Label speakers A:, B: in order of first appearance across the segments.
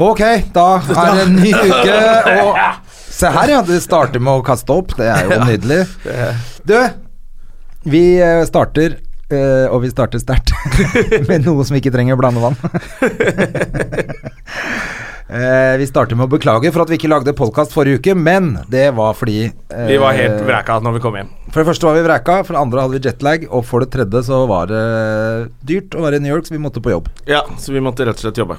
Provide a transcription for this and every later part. A: Ok, da er det en ny uke, og Se her, ja. Du starter med å kaste opp. Det er jo nydelig. Du, vi eh, starter, eh, og vi starter sterkt, med noe som ikke trenger blandevann. Eh, Vi starter med å beklage for at vi ikke lagde podkast forrige uke, men det var fordi eh,
B: Vi var helt vreka når vi kom hjem.
A: For det første var vi vreka, for det andre hadde vi jetlag, og for det tredje så var det eh, dyrt å være i New York, så vi måtte på jobb.
B: Ja, Så vi måtte rett og slett jobbe.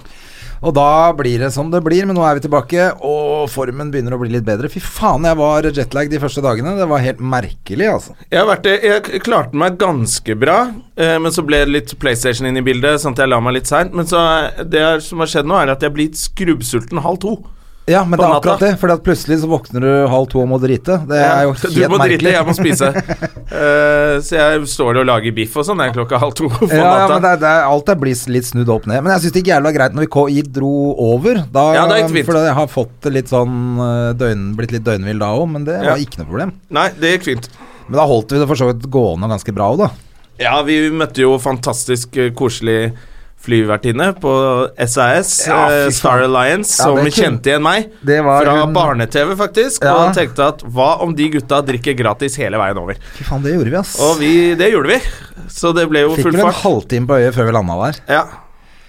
A: Og da blir det som det blir, men nå er vi tilbake, og formen begynner å bli litt bedre. Fy faen, jeg var jetlag de første dagene. Det var helt merkelig, altså.
B: Jeg, har vært, jeg k- klarte meg ganske bra, eh, men så ble det litt PlayStation inn i bildet, sånn at jeg la meg litt seint. Men så eh, det er- som har skjedd nå, er at jeg blir skrubbsulten halv to.
A: Ja, men
B: På
A: det er
B: natta.
A: akkurat det, for plutselig så våkner du halv to og må drite. Det er jo helt
B: du må
A: merkelig.
B: drite, jeg må spise. Eh, så jeg står og lager biff og sånn det er klokka halv to på
A: ja, ja,
B: natta.
A: men det, er- det, er- alt er blitt litt snudd opp ned. Men jeg syns det ikke jævla greit når vi ko- i dro over. Da,
B: Ja, det er helt fint.
A: for jeg har fått litt sånn eh, døgn, blitt litt døgnvill da òg, men det
B: Ja.
A: var ikke noe problem.
B: Nei, det gikk fint.
A: Men da holdt vi det for så vidt gående ganske bra òg, da.
B: Ja, vi møtte jo fantastisk eh, koselig flyvertinne på SAS,
A: Ja, fy
B: eh,
A: faen.
B: Star Alliance,
A: Ja,
B: som
A: det kunne-
B: kjente igjen meg.
A: Det var
B: fra
A: hun-
B: barne-TV, faktisk.
A: Ja.
B: Og tenkte at hva om de gutta drikker gratis hele veien over?
A: Fy faen, det gjorde vi, ass.
B: Og vi, det gjorde vi. Så det ble jo
A: Fikk
B: full
A: vel en
B: fart.
A: halvtime på øyet før vi landa der.
B: Ja.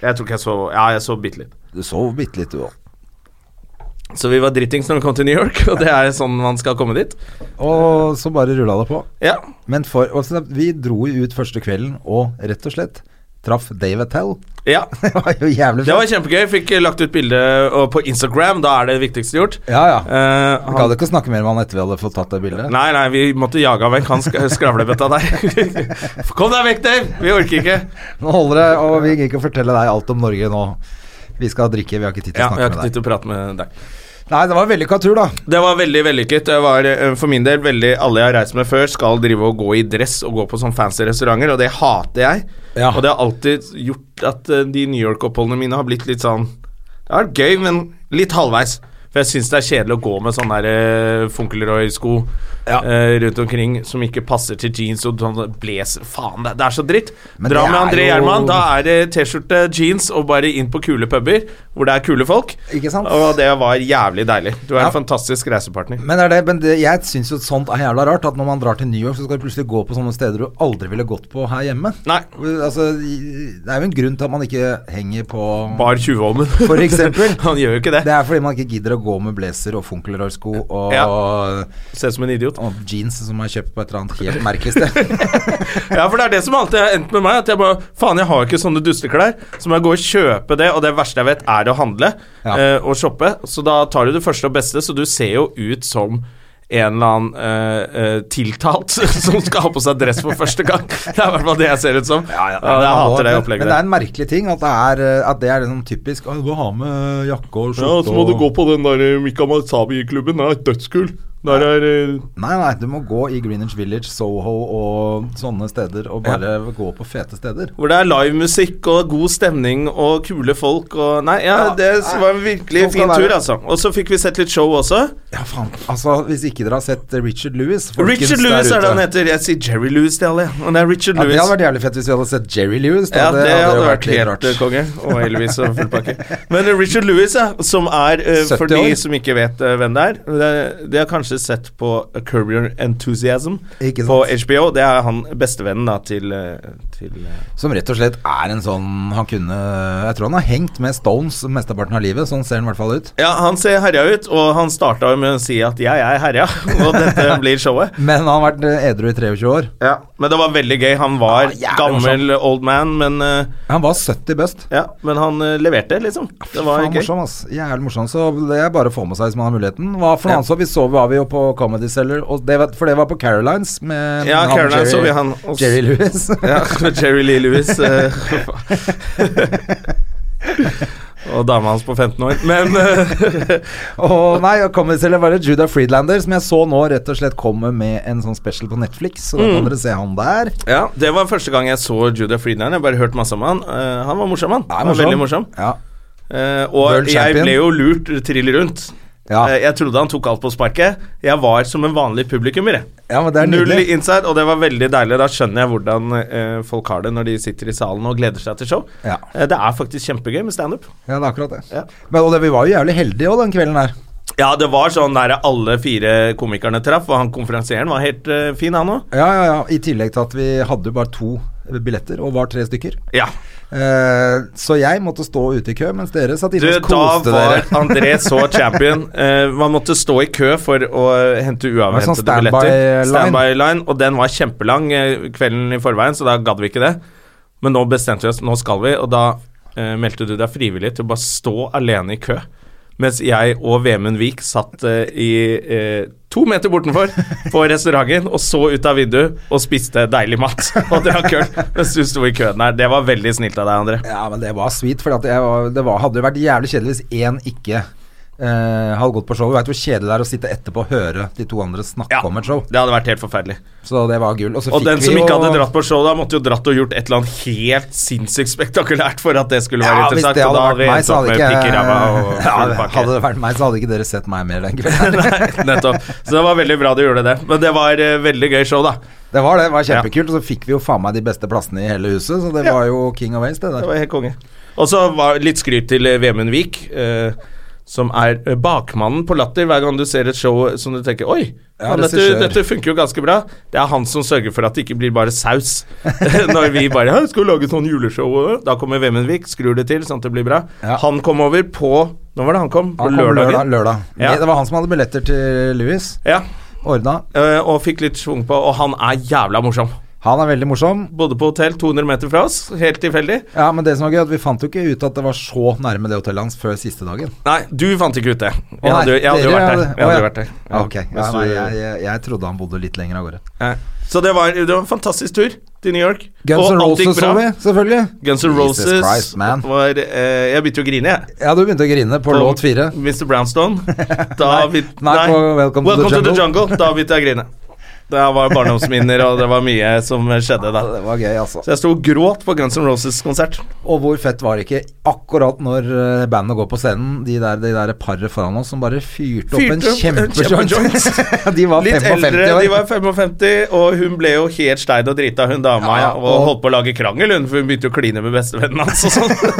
B: Jeg tror ikke jeg så Ja, jeg så bitte litt.
A: Du sov bitte litt, du òg.
B: Så vi var drittings når vi kom til New York, og det er sånn man skal komme dit.
A: Og så bare rulla det på.
B: Ja.
A: Men for, og så vi dro jo ut første kvelden og rett og slett traff Dave Attell.
B: ja.
A: Det var jo jævlig
B: Det var kjempegøy. Fikk eh, lagt ut bilde og på Instagram, da er det viktigste gjort.
A: Ja, ja.
B: Eh,
A: Vi gadd ikke å snakke mer med han etter vi hadde fått tatt det bildet.
B: Nei, nei, vi måtte jage vekk han sk skravlebøtta der. Kom deg vekk, Dave! Vi orker ikke.
A: Nå holder det, og vi gidder ikke å fortelle deg alt om Norge nå. Vi skal drikke, vi har ikke tid til
B: Ja,
A: å
B: jeg
A: snakke
B: har ikke
A: med
B: tid
A: deg.
B: til å prate med deg.
A: Nei, det var en vellykka tur, da.
B: Det var veldig vellykket. Det var eh, for min del veldig Alle jeg har reist med før, skal drive og gå i dress og gå på sånn fancy restauranter, og det hater jeg.
A: Ja.
B: Og det har alltid gjort at eh, de New York-oppholdene mine har blitt litt sånn Det har vært gøy, men litt halvveis. For jeg syns det er kjedelig å gå med sånne der, eh, Funkelroy-sko
A: Ja.
B: eh, rundt omkring som ikke passer til jeans og sånn blazer Faen, det, det er så dritt.
A: Men
B: Dra
A: det
B: med
A: er
B: André
A: jo-
B: Gjerman, da er det T-skjorte, jeans og bare inn på kule puber hvor det er kule folk.
A: Ikke sant?
B: Og det var jævlig deilig. Du er
A: Ja.
B: en fantastisk reisepartner.
A: Men, det er det, men det, jeg syns jo sånt er jævla rart, at når man drar til New York, så skal du plutselig gå på sånne steder du aldri ville gått på her hjemme.
B: Nei.
A: Altså, det er jo en grunn til at man ikke henger på
B: Bar Tjuvholmen.
A: For eksempel.
B: Han gjør jo ikke det.
A: Det er fordi man ikke gidder å gå med blazer og funkelrørsko og,
B: Ser ut som en idiot.
A: og jeans som er kjøpt på et eller annet helt merkelig sted.
B: Ja, for det er det som alltid har endt med meg. At jeg bare Faen, jeg har jo ikke sånne dusteklær. Så må jeg gå og kjøpe det, og det verste jeg vet, er å handle
A: Ja.
B: eh, og shoppe. Så da tar du det første og beste, så du ser jo ut som en eller annen eh, eh, tiltalt som skal ha på seg dress for første gang. Det er i hvert fall det jeg ser ut som. Ja, jeg hater det
A: Men det
B: opplegget.
A: er en merkelig ting at det er, eh, at det er liksom typisk Å, du må ha med jakke og skjorte og-
B: på den der eh, Mika Masabi-klubben. Den er dødskul. Der er eh,
A: Nei, nei, du må gå i Greenwich Village, Soho og sånne steder og bare gå på fete steder.
B: Hvor det er livemusikk og god stemning og kule folk og Nei, ja, det s- var en virkelig
A: sånn skal
B: fin
A: det være.
B: tur, altså. Og så fikk vi sett litt show også.
A: Ja, faen. Altså, hvis ikke dere har sett eh, Richard Lewis folkens,
B: Richard
A: der
B: Lewis er det
A: ute.
B: han heter. Jeg sier Jerry Lewis til alle, men det er Richard
A: Ja, det
B: Lewis.
A: hadde vært jævlig fett hvis vi hadde sett Jerry Lewis. da.
B: Ja, det
A: jo
B: hadde vært
A: litt
B: helt eh, konge. Og Elvis og full pakke. Men eh, Richard Lewis, ja, som er eh,
A: 70
B: For
A: år.
B: de som ikke vet eh, hvem det er det, de har kanskje sett på Curb Your Enthusiasm
A: Ikke sant.
B: på HBO. Det er han bestevennen da til, eh, til eh,
A: Som rett og slett er en sånn Han kunne Jeg tror han har hengt med Stones mesteparten av livet. Sånn ser han i hvert fall ut.
B: Ja, han ser herja ut, og han starta jo med å si at 'jeg er herja', og dette blir showet.
A: Men han har vært eh, edru i 23 år.
B: Ja, Men det var veldig gøy. Han var
A: Ja, Ah, jævlig
B: gammel old man, men, eh,
A: Han var 70 bøst.
B: ja, men han eh, leverte, liksom. Det var
A: Ah, Faen
B: gøy.
A: morsom, ass. Jævlig morsom. Så det er bare å få med seg hvis man har muligheten. Hva for noe
B: Ja.
A: annet så vi så var vi jo på Comedy Cellar, og det, var- for det var på Carolines med
B: Ja,
A: han
B: Caroline
A: Jerry-
B: så vi han også.
A: Jerry Lewis.
B: Ja, Jerry Lee Lewis. eh, Og dama hans på 15 år. Men eh,
A: Og nei, og Comedy var det Judah Friedlander, som jeg så nå rett og slett kommer med en sånn special på Netflix, så da
B: Mm.
A: kan dere se han der.
B: ja, det var første gang jeg så Judah Friedland. Jeg bare hørte masse om han. Eh, han var morsom, han. han var Veldig morsom.
A: Ja.
B: Eh, og
A: World
B: jeg
A: champion.
B: ble jo lurt trill rundt.
A: Ja.
B: Eh, jeg trodde han tok alt på sparket. Jeg var som en vanlig publikummer. jeg.
A: ja, men det er
B: Null
A: nydelig.
B: inside, og det var veldig deilig. Da skjønner jeg hvordan eh, folk har det når de sitter i salen og gleder seg til show.
A: Ja.
B: Eh, det er faktisk kjempegøy med standup.
A: Ja, det er akkurat det.
B: Ja.
A: Men, og det, vi var jo jævlig heldige òg den kvelden her.
B: Ja, det var sånn der alle fire komikerne traff, og han konferansieren var helt eh, fin, han òg.
A: Ja, ja, ja. I tillegg til at vi hadde jo bare to billetter, og var tre stykker.
B: Ja.
A: Eh, så jeg måtte stå ute i kø, mens dere satt
B: Du,
A: inne og
B: da
A: koste
B: var
A: dere.
B: André så champion. Eh, man måtte stå i kø for å hente
A: Det var sånn
B: uavhentede
A: standby
B: billetter.
A: line.
B: Standby line. Og den var kjempelang eh, kvelden i forveien, så da gadd vi ikke det. Men nå bestemte vi oss, nå skal vi, og da eh, meldte du deg frivillig til å bare stå alene i kø. Mens jeg og Vemund Vik satt eh, i eh, to meter bortenfor på restauranten og så ut av vinduet og spiste deilig mat og drakk øl mens du sto i køen der. Det var veldig snilt av deg, André.
A: Ja, men det var sweet, for det, var, det var, hadde jo vært jævlig kjedelig hvis én ikke eh, hadde gått på showet. Veit hvor kjedelig det er å sitte etterpå og høre de to andre snakke om et show.
B: Det hadde vært helt forferdelig.
A: Så det var gull. Og, så
B: Og
A: fikk
B: den
A: vi
B: som ikke
A: jo-
B: hadde dratt på show da, måtte jo dratt og gjort et eller annet helt sinnssykt spektakulært for at det skulle
A: ja,
B: være
A: hvis
B: interessant.
A: det
B: og
A: hadde
B: da
A: vært meg,
B: endt
A: så
B: opp
A: hadde
B: med
A: ikke
B: pikk i ræva og
A: ja,
B: full pakke.
A: Hadde det vært meg, så hadde ikke dere sett meg mer den kvelden.
B: Nei, nettopp. Så det var veldig bra du gjorde det. Men det var eh, veldig gøy show, da.
A: Det var det, det var kjempekult. Og så fikk vi jo faen meg de beste plassene i hele huset, så det
B: Ja.
A: var jo king of waste, det
B: Det
A: der.
B: var helt konge. Og så var litt skryt til eh, Vemund Vik, eh, som er eh, bakmannen på Latter. Hver gang du ser et show som du tenker Oi,
A: Ja,
B: faen, dette,
A: regissør.
B: dette funker jo ganske bra. Det er han som sørger for at det ikke blir bare saus. Når vi bare «Hæ, skal vi lage sånn juleshow og-» Da kommer Vemund Vik, skrur det til sånn at det blir bra.
A: Ja.
B: Han kom over på Når var det han kom? På
A: Han kom lørdag. lørdag.
B: Ja.
A: Det var han som hadde billetter til Louis.
B: Ja.
A: Ordna.
B: eh, og fikk litt schwung på, og han er jævla morsom.
A: Han er veldig morsom.
B: Bodde på hotell 200 meter fra oss, helt tilfeldig.
A: Ja, men det som var gøy, er at vi fant jo ikke ut at det var så nærme det hotellet hans før siste dagen.
B: Nei, du fant ikke ut det. Jeg
A: Å, nei,
B: hadde, jeg hadde jo
A: dere
B: vært der.
A: hadde- Å,
B: Jeg hadde
A: ja.
B: jo vært der.
A: Ja, ok. Ja,
B: Hvis du-
A: nei, jeg, jeg, jeg trodde han bodde litt lenger av gårde.
B: Nei. Så det var, det var en fantastisk tur til New York.
A: Guns
B: og
A: N'
B: alt gikk
A: Roses så
B: bra.
A: vi, selvfølgelig.
B: Guns N'
A: Jesus
B: Roses
A: Christ, man.
B: var eh, Jeg begynte å grine, jeg.
A: Ja, du begynte å grine på låt fire.
B: Mr. Brownstone. Da begynte-
A: nei, på Welcome to the Jungle.
B: Da begynte jeg å grine. Det var barndomsminner, og det var mye som skjedde da.
A: Det var gøy, altså.
B: Så jeg sto og gråt på Guns N' Roses-konsert.
A: Og hvor fett var det ikke akkurat når eh, bandet går på scenen, de der, de der paret foran oss som bare fyrte opp en
B: Fyrte opp en
A: kjempejoint.
B: kjempejoint.
A: de var
B: Litt
A: 55
B: eldre, de var
A: år.
B: 55, og hun ble jo helt stein og drita, hun dama,
A: Ja,
B: ja, og,
A: og-
B: holdt på å lage krangel, hun, for hun begynte jo å kline med bestevennen hans og sånn.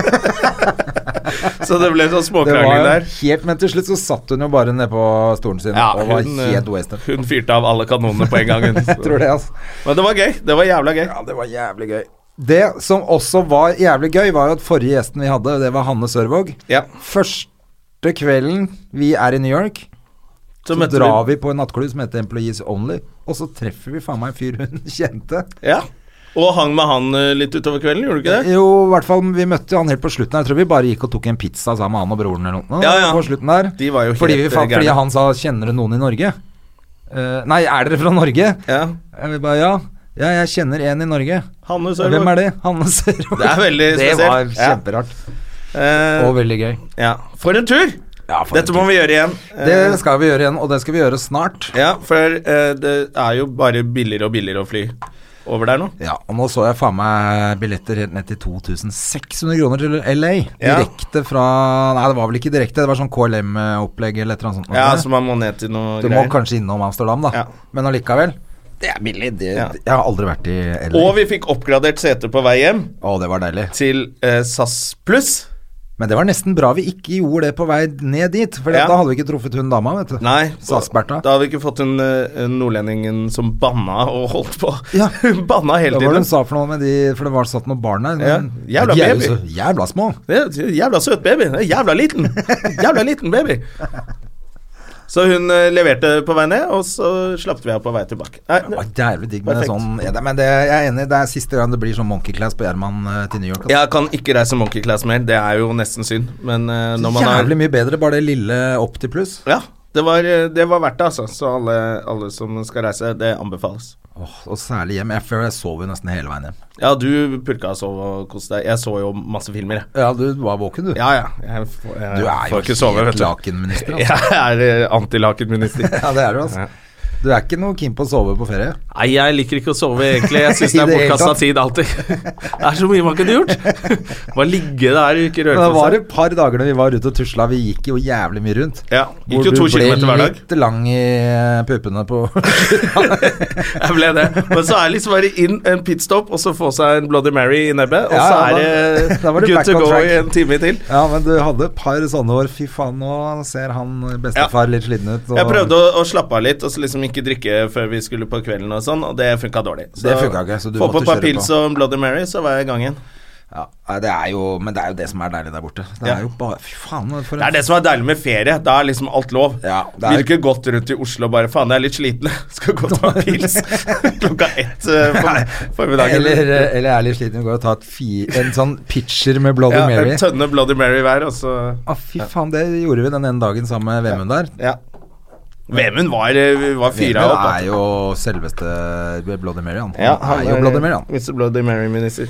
B: så det ble sånn
A: Det
B: småkrangling
A: var
B: der.
A: helt, men til slutt så satt hun jo bare nede på stolen sin
B: Ja,
A: og var
B: hun, eh,
A: helt wasted.
B: hun fyrte av alle kanonene på en gang, hun.
A: Jeg tror det, altså.
B: Men det var gøy. Det var jævla gøy.
A: Ja, det var jævlig gøy. Det som også var jævlig gøy, var jo at forrige gjesten vi hadde, det var Hanne Sørvåg.
B: Ja.
A: Første kvelden vi er i New York, så,
B: møtte
A: drar vi på en nattklubb som heter Employees Only, og så treffer vi faen meg en fyr hun kjente.
B: Ja. Og hang med han eh, litt utover kvelden, gjorde du ikke det?
A: Jo, i hvert fall, vi møtte jo han helt på slutten her. Jeg tror vi bare gikk og tok en pizza sammen med han og broren eller noe.
B: Ja, ja.
A: På slutten der.
B: De var jo
A: fordi, vi
B: helt,
A: fant,
B: eh, gærne.
A: fordi han sa 'Kjenner du noen i Norge?' Eh, nei, er dere fra Norge?
B: Ja.
A: Og Vi bare ja. Ja, jeg kjenner en i Norge.
B: Hanne Sørvåg.
A: Hvem er det? Hanne Sørvold.
B: Det er veldig
A: Det var
B: spesielt. Ja.
A: kjemperart.
B: Eh,
A: Og veldig gøy.
B: ja. For en tur! Dette må vi gjøre igjen. Eh,
A: Det skal vi gjøre igjen, og det skal vi gjøre snart.
B: Ja, for eh, det er jo bare billigere og billigere å fly over der nå.
A: Ja, og nå så jeg faen meg billetter helt ned til 2600 kroner til LA.
B: Ja.
A: Direkte fra Nei, det var vel ikke direkte, det var sånn KLM-opplegg eller et eller annet sånt.
B: Ja, så man må ned til noe
A: du må
B: greier.
A: kanskje innom Amsterdam, da.
B: Ja.
A: Men allikevel. Det er billig. Det,
B: Ja.
A: Jeg har aldri vært i LA.
B: Og vi fikk oppgradert sete på vei hjem
A: Å, det var deilig.
B: til eh, SAS pluss.
A: Men det var nesten bra vi ikke gjorde det på vei ned dit, for
B: Ja.
A: da hadde vi ikke truffet hun dama, vet du.
B: Nei,
A: Sass-Bertha.
B: da hadde vi ikke fått den eh, nordlendingen som banna og holdt på.
A: Ja.
B: Hun banna
A: Det
B: hele
A: var det
B: tiden.
A: hun sa for noe med de For det var satt noen barn der.
B: Ja,
A: men-
B: jævla
A: de er jo
B: baby.
A: så Jævla små.
B: Det er en Jævla søt baby. Det er Jævla liten. Jævla liten baby. Så hun eh, leverte på vei ned, og så slapp vi av på vei tilbake. Nei,
A: Det var jævlig digg med
B: Perfekt.
A: sånn ja, det- Men det, jeg er enig, det er siste gang det blir sånn Monkey Class på Gjerman eh, til New York. altså.
B: jeg kan ikke reise monkey class mer. Det er jo nesten synd. Men eh, når man har
A: Jævlig mye bedre, bare det lille opp til pluss.
B: Ja, det var, det var verdt det, altså. Så alle, alle som skal reise, det anbefales.
A: Åh, og særlig hjem. Jeg, føler jeg sov jo nesten hele veien hjem.
B: Ja, du pulka og sov og koste deg. Jeg så jo masse filmer, jeg.
A: Ja, du var våken, du.
B: Ja, ja. Jeg, får- jeg
A: Du er jo
B: får ikke sove, vet
A: helt
B: du.
A: lakenminister. Altså.
B: Jeg er eh, antilakenminister.
A: Ja, det er du, altså. Du er ikke noe keen på å sove på ferie?
B: Nei, jeg liker ikke å sove, egentlig. Jeg syns det
A: I
B: er
A: det hele
B: bortkasta
A: tatt.
B: tid alltid. Det er så mye man kunne gjort. Bare ligge der og ikke
A: Men
B: røre
A: det
B: på
A: var
B: seg.
A: et par dager da vi var ute og tusla, vi gikk jo jævlig mye rundt.
B: Ja,
A: Hvor
B: gikk jo to
A: du ble
B: kilometer hver dag.
A: litt lang i eh, puppene på
B: Jeg ble det. Men så er det liksom bare inn en pitstop, og så få seg en Bloody Mary i nebbet, og
A: Ja,
B: så
A: ja,
B: er
A: da-
B: det
A: da var du
B: good
A: back
B: to
A: on
B: go
A: track.
B: i en time til.
A: Ja, men du hadde et par sånne år. Fy faen, nå ser han bestefar litt sliten ut. og-
B: Jeg prøvde å, å slappe av litt, og så liksom ikke drikke før vi skulle på kvelden og sånn, og det funka dårlig. Så
A: Det funka ikke, så du
B: få
A: måtte
B: på et par
A: kjøre på.
B: pils og en Bloody Mary, så var jeg i gang igjen.
A: ja, nei, det er jo, Men det er jo det som er deilig der borte. Det
B: Ja.
A: er jo bare Fy faen, for
B: Det er det som er deilig med ferie. Da er liksom alt lov.
A: Ja, det er-
B: Ville ikke gått rundt i Oslo og bare Faen, jeg er litt sliten. Skal gå og ta en pils klokka ett eh, på formiddagen.
A: eller, eh, eller er litt sliten, går og tar et fi, en sånn pitcher med Bloody
B: ja,
A: Mary.
B: en tønne Bloody Mary hver, og så
A: Å, fy faen, det gjorde vi den ene dagen sammen med Vemund der.
B: Ja. Vemund var, eh, var fyra
A: Vemund
B: opp. da.
A: er jo selveste Bloody Mary, han.
B: Ja,
A: han er jo Bloody Mary, han.
B: Mr. Bloody Mary-minister.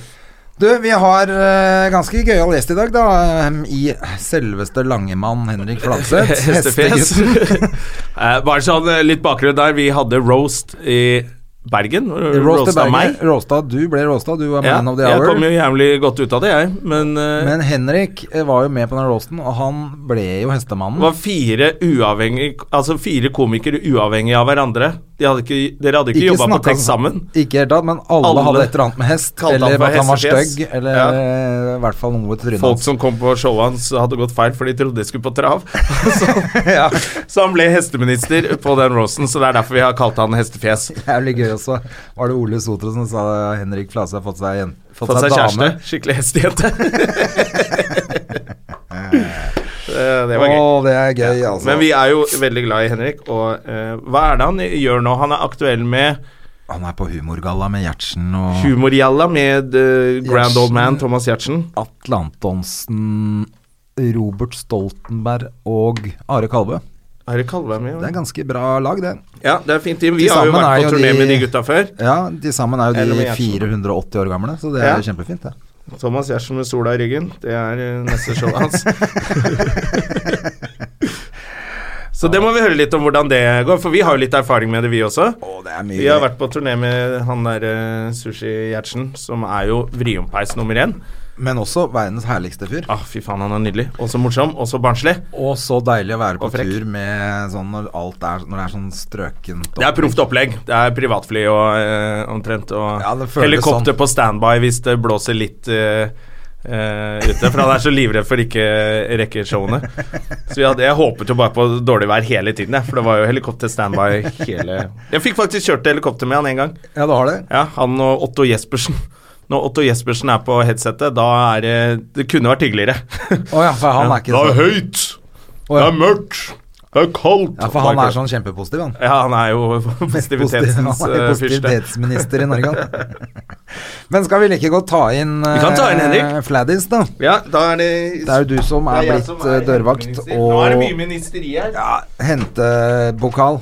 A: Du, vi har eh, ganske gøyal gjest i dag, da. em, I selveste langemann Henrik Fladseth.
B: Hestefjes. Eh, Bare sånn eh, litt bakgrunn der. Vi hadde roast i Bergen.
A: Roasta
B: Roasta meg.
A: Roasta, du ble roasta. Du var
B: Ja,
A: man of the
B: jeg
A: hour.
B: kom jo jævlig godt ut av det, jeg. Men, eh,
A: Men Henrik eh, var jo med på den roasten, og han ble jo hestemannen.
B: det var fire, uavhengig, altså fire komikere uavhengig av hverandre. De hadde ikke, dere hadde ikke, jobba på
A: snakka-
B: tekst sammen.
A: Ikke helt tatt, men alle,
B: Alle
A: hadde et eller annet med hest.
B: kalte han
A: Eller
B: for
A: at han var
B: hestefjes.
A: stygg, eller
B: Ja.
A: eh, i hvert fall noe i trynet
B: Folk
A: hans.
B: som kom på showet hans, hadde gått feil, for de trodde de skulle på trav. så, så han ble hesteminister på den roasten, så det er derfor vi har kalt han Hestefjes.
A: Jævlig gøy også. Var det Ole Sotra som sa at Henrik Flase har fått seg, jen- fått
B: Fått seg
A: dame?
B: kjæreste. Skikkelig hestejente. Eh, det var
A: Å,
B: gøy.
A: det er gøy, altså.
B: Men vi er jo veldig glad i Henrik, og eh, hva er det han gjør nå? Han er aktuell med
A: Han er på humorgalla med Gjertsen og
B: Humorjalla med eh, Grand Old Man Thomas Giertsen.
A: Atle Antonsen, Robert Stoltenberg og Are Kalve.
B: Er det Kalve med?
A: Det er ganske bra lag, det.
B: Ja, det er fint team. Vi
A: Til
B: har jo
A: sammen
B: vært
A: er
B: på
A: jo
B: turné
A: de-
B: med de gutta før.
A: Ja, de sammen er jo
B: Eller
A: de
B: med Gjertsen.
A: 480 år gamle, så det
B: Ja.
A: er jo kjempefint, det.
B: Thomas Giertsen med sola i ryggen. Det er eh, neste showet hans. Så det må vi høre litt om hvordan det går, for vi har jo litt erfaring med det, vi også.
A: Å, det er
B: Vi har vært på turné med han der eh, Sushi Gjertsen, som er jo vriompeis nummer én.
A: Men også verdens herligste fyr.
B: Ah, fy faen, han er nydelig. Og så morsom, og så barnslig.
A: Og så deilig å være på
B: Og frekk.
A: tur med sånn når alt er Når det er sånn strøkent
B: Det er proft opplegg. Det er privatfly og eh, omtrent, og
A: Ja, det føles
B: helikopter
A: sånn.
B: på standby hvis det blåser litt eh, eh, ute. For han er så livredd for ikke rekke showene. Så vi hadde, jeg håpet jo bare på dårlig vær hele tiden, jeg. For det var jo helikopter standby hele Jeg fikk faktisk kjørt helikopter med han en gang.
A: Ja, du har det?
B: Ja, han og Otto Jespersen. Når Otto Jespersen er på headsetet, da er det Det kunne vært hyggeligere.
A: Å ja, for han er ikke
B: det er
A: så
B: høyt!
A: Å ja.
B: Det er mørkt! Det er kaldt!
A: Ja, for han er sånn kjempepositiv, han.
B: Ja, han er jo
A: Positiv- han
B: positivitetens
A: er jo
B: eh, fyrste.
A: Positivitetsminister i Norge, han. Men skal vi like godt ta inn
B: Vi kan ta inn
A: eh,
B: Henrik.
A: Fladdis, da?
B: Ja, da er det
A: Det er jo du som er
B: Det er jeg
A: blitt
B: som
A: eh,
B: er
A: dørvakt
B: helseminister. Nå er det mye
A: og
B: ministeri her.
A: ja, hentebokal.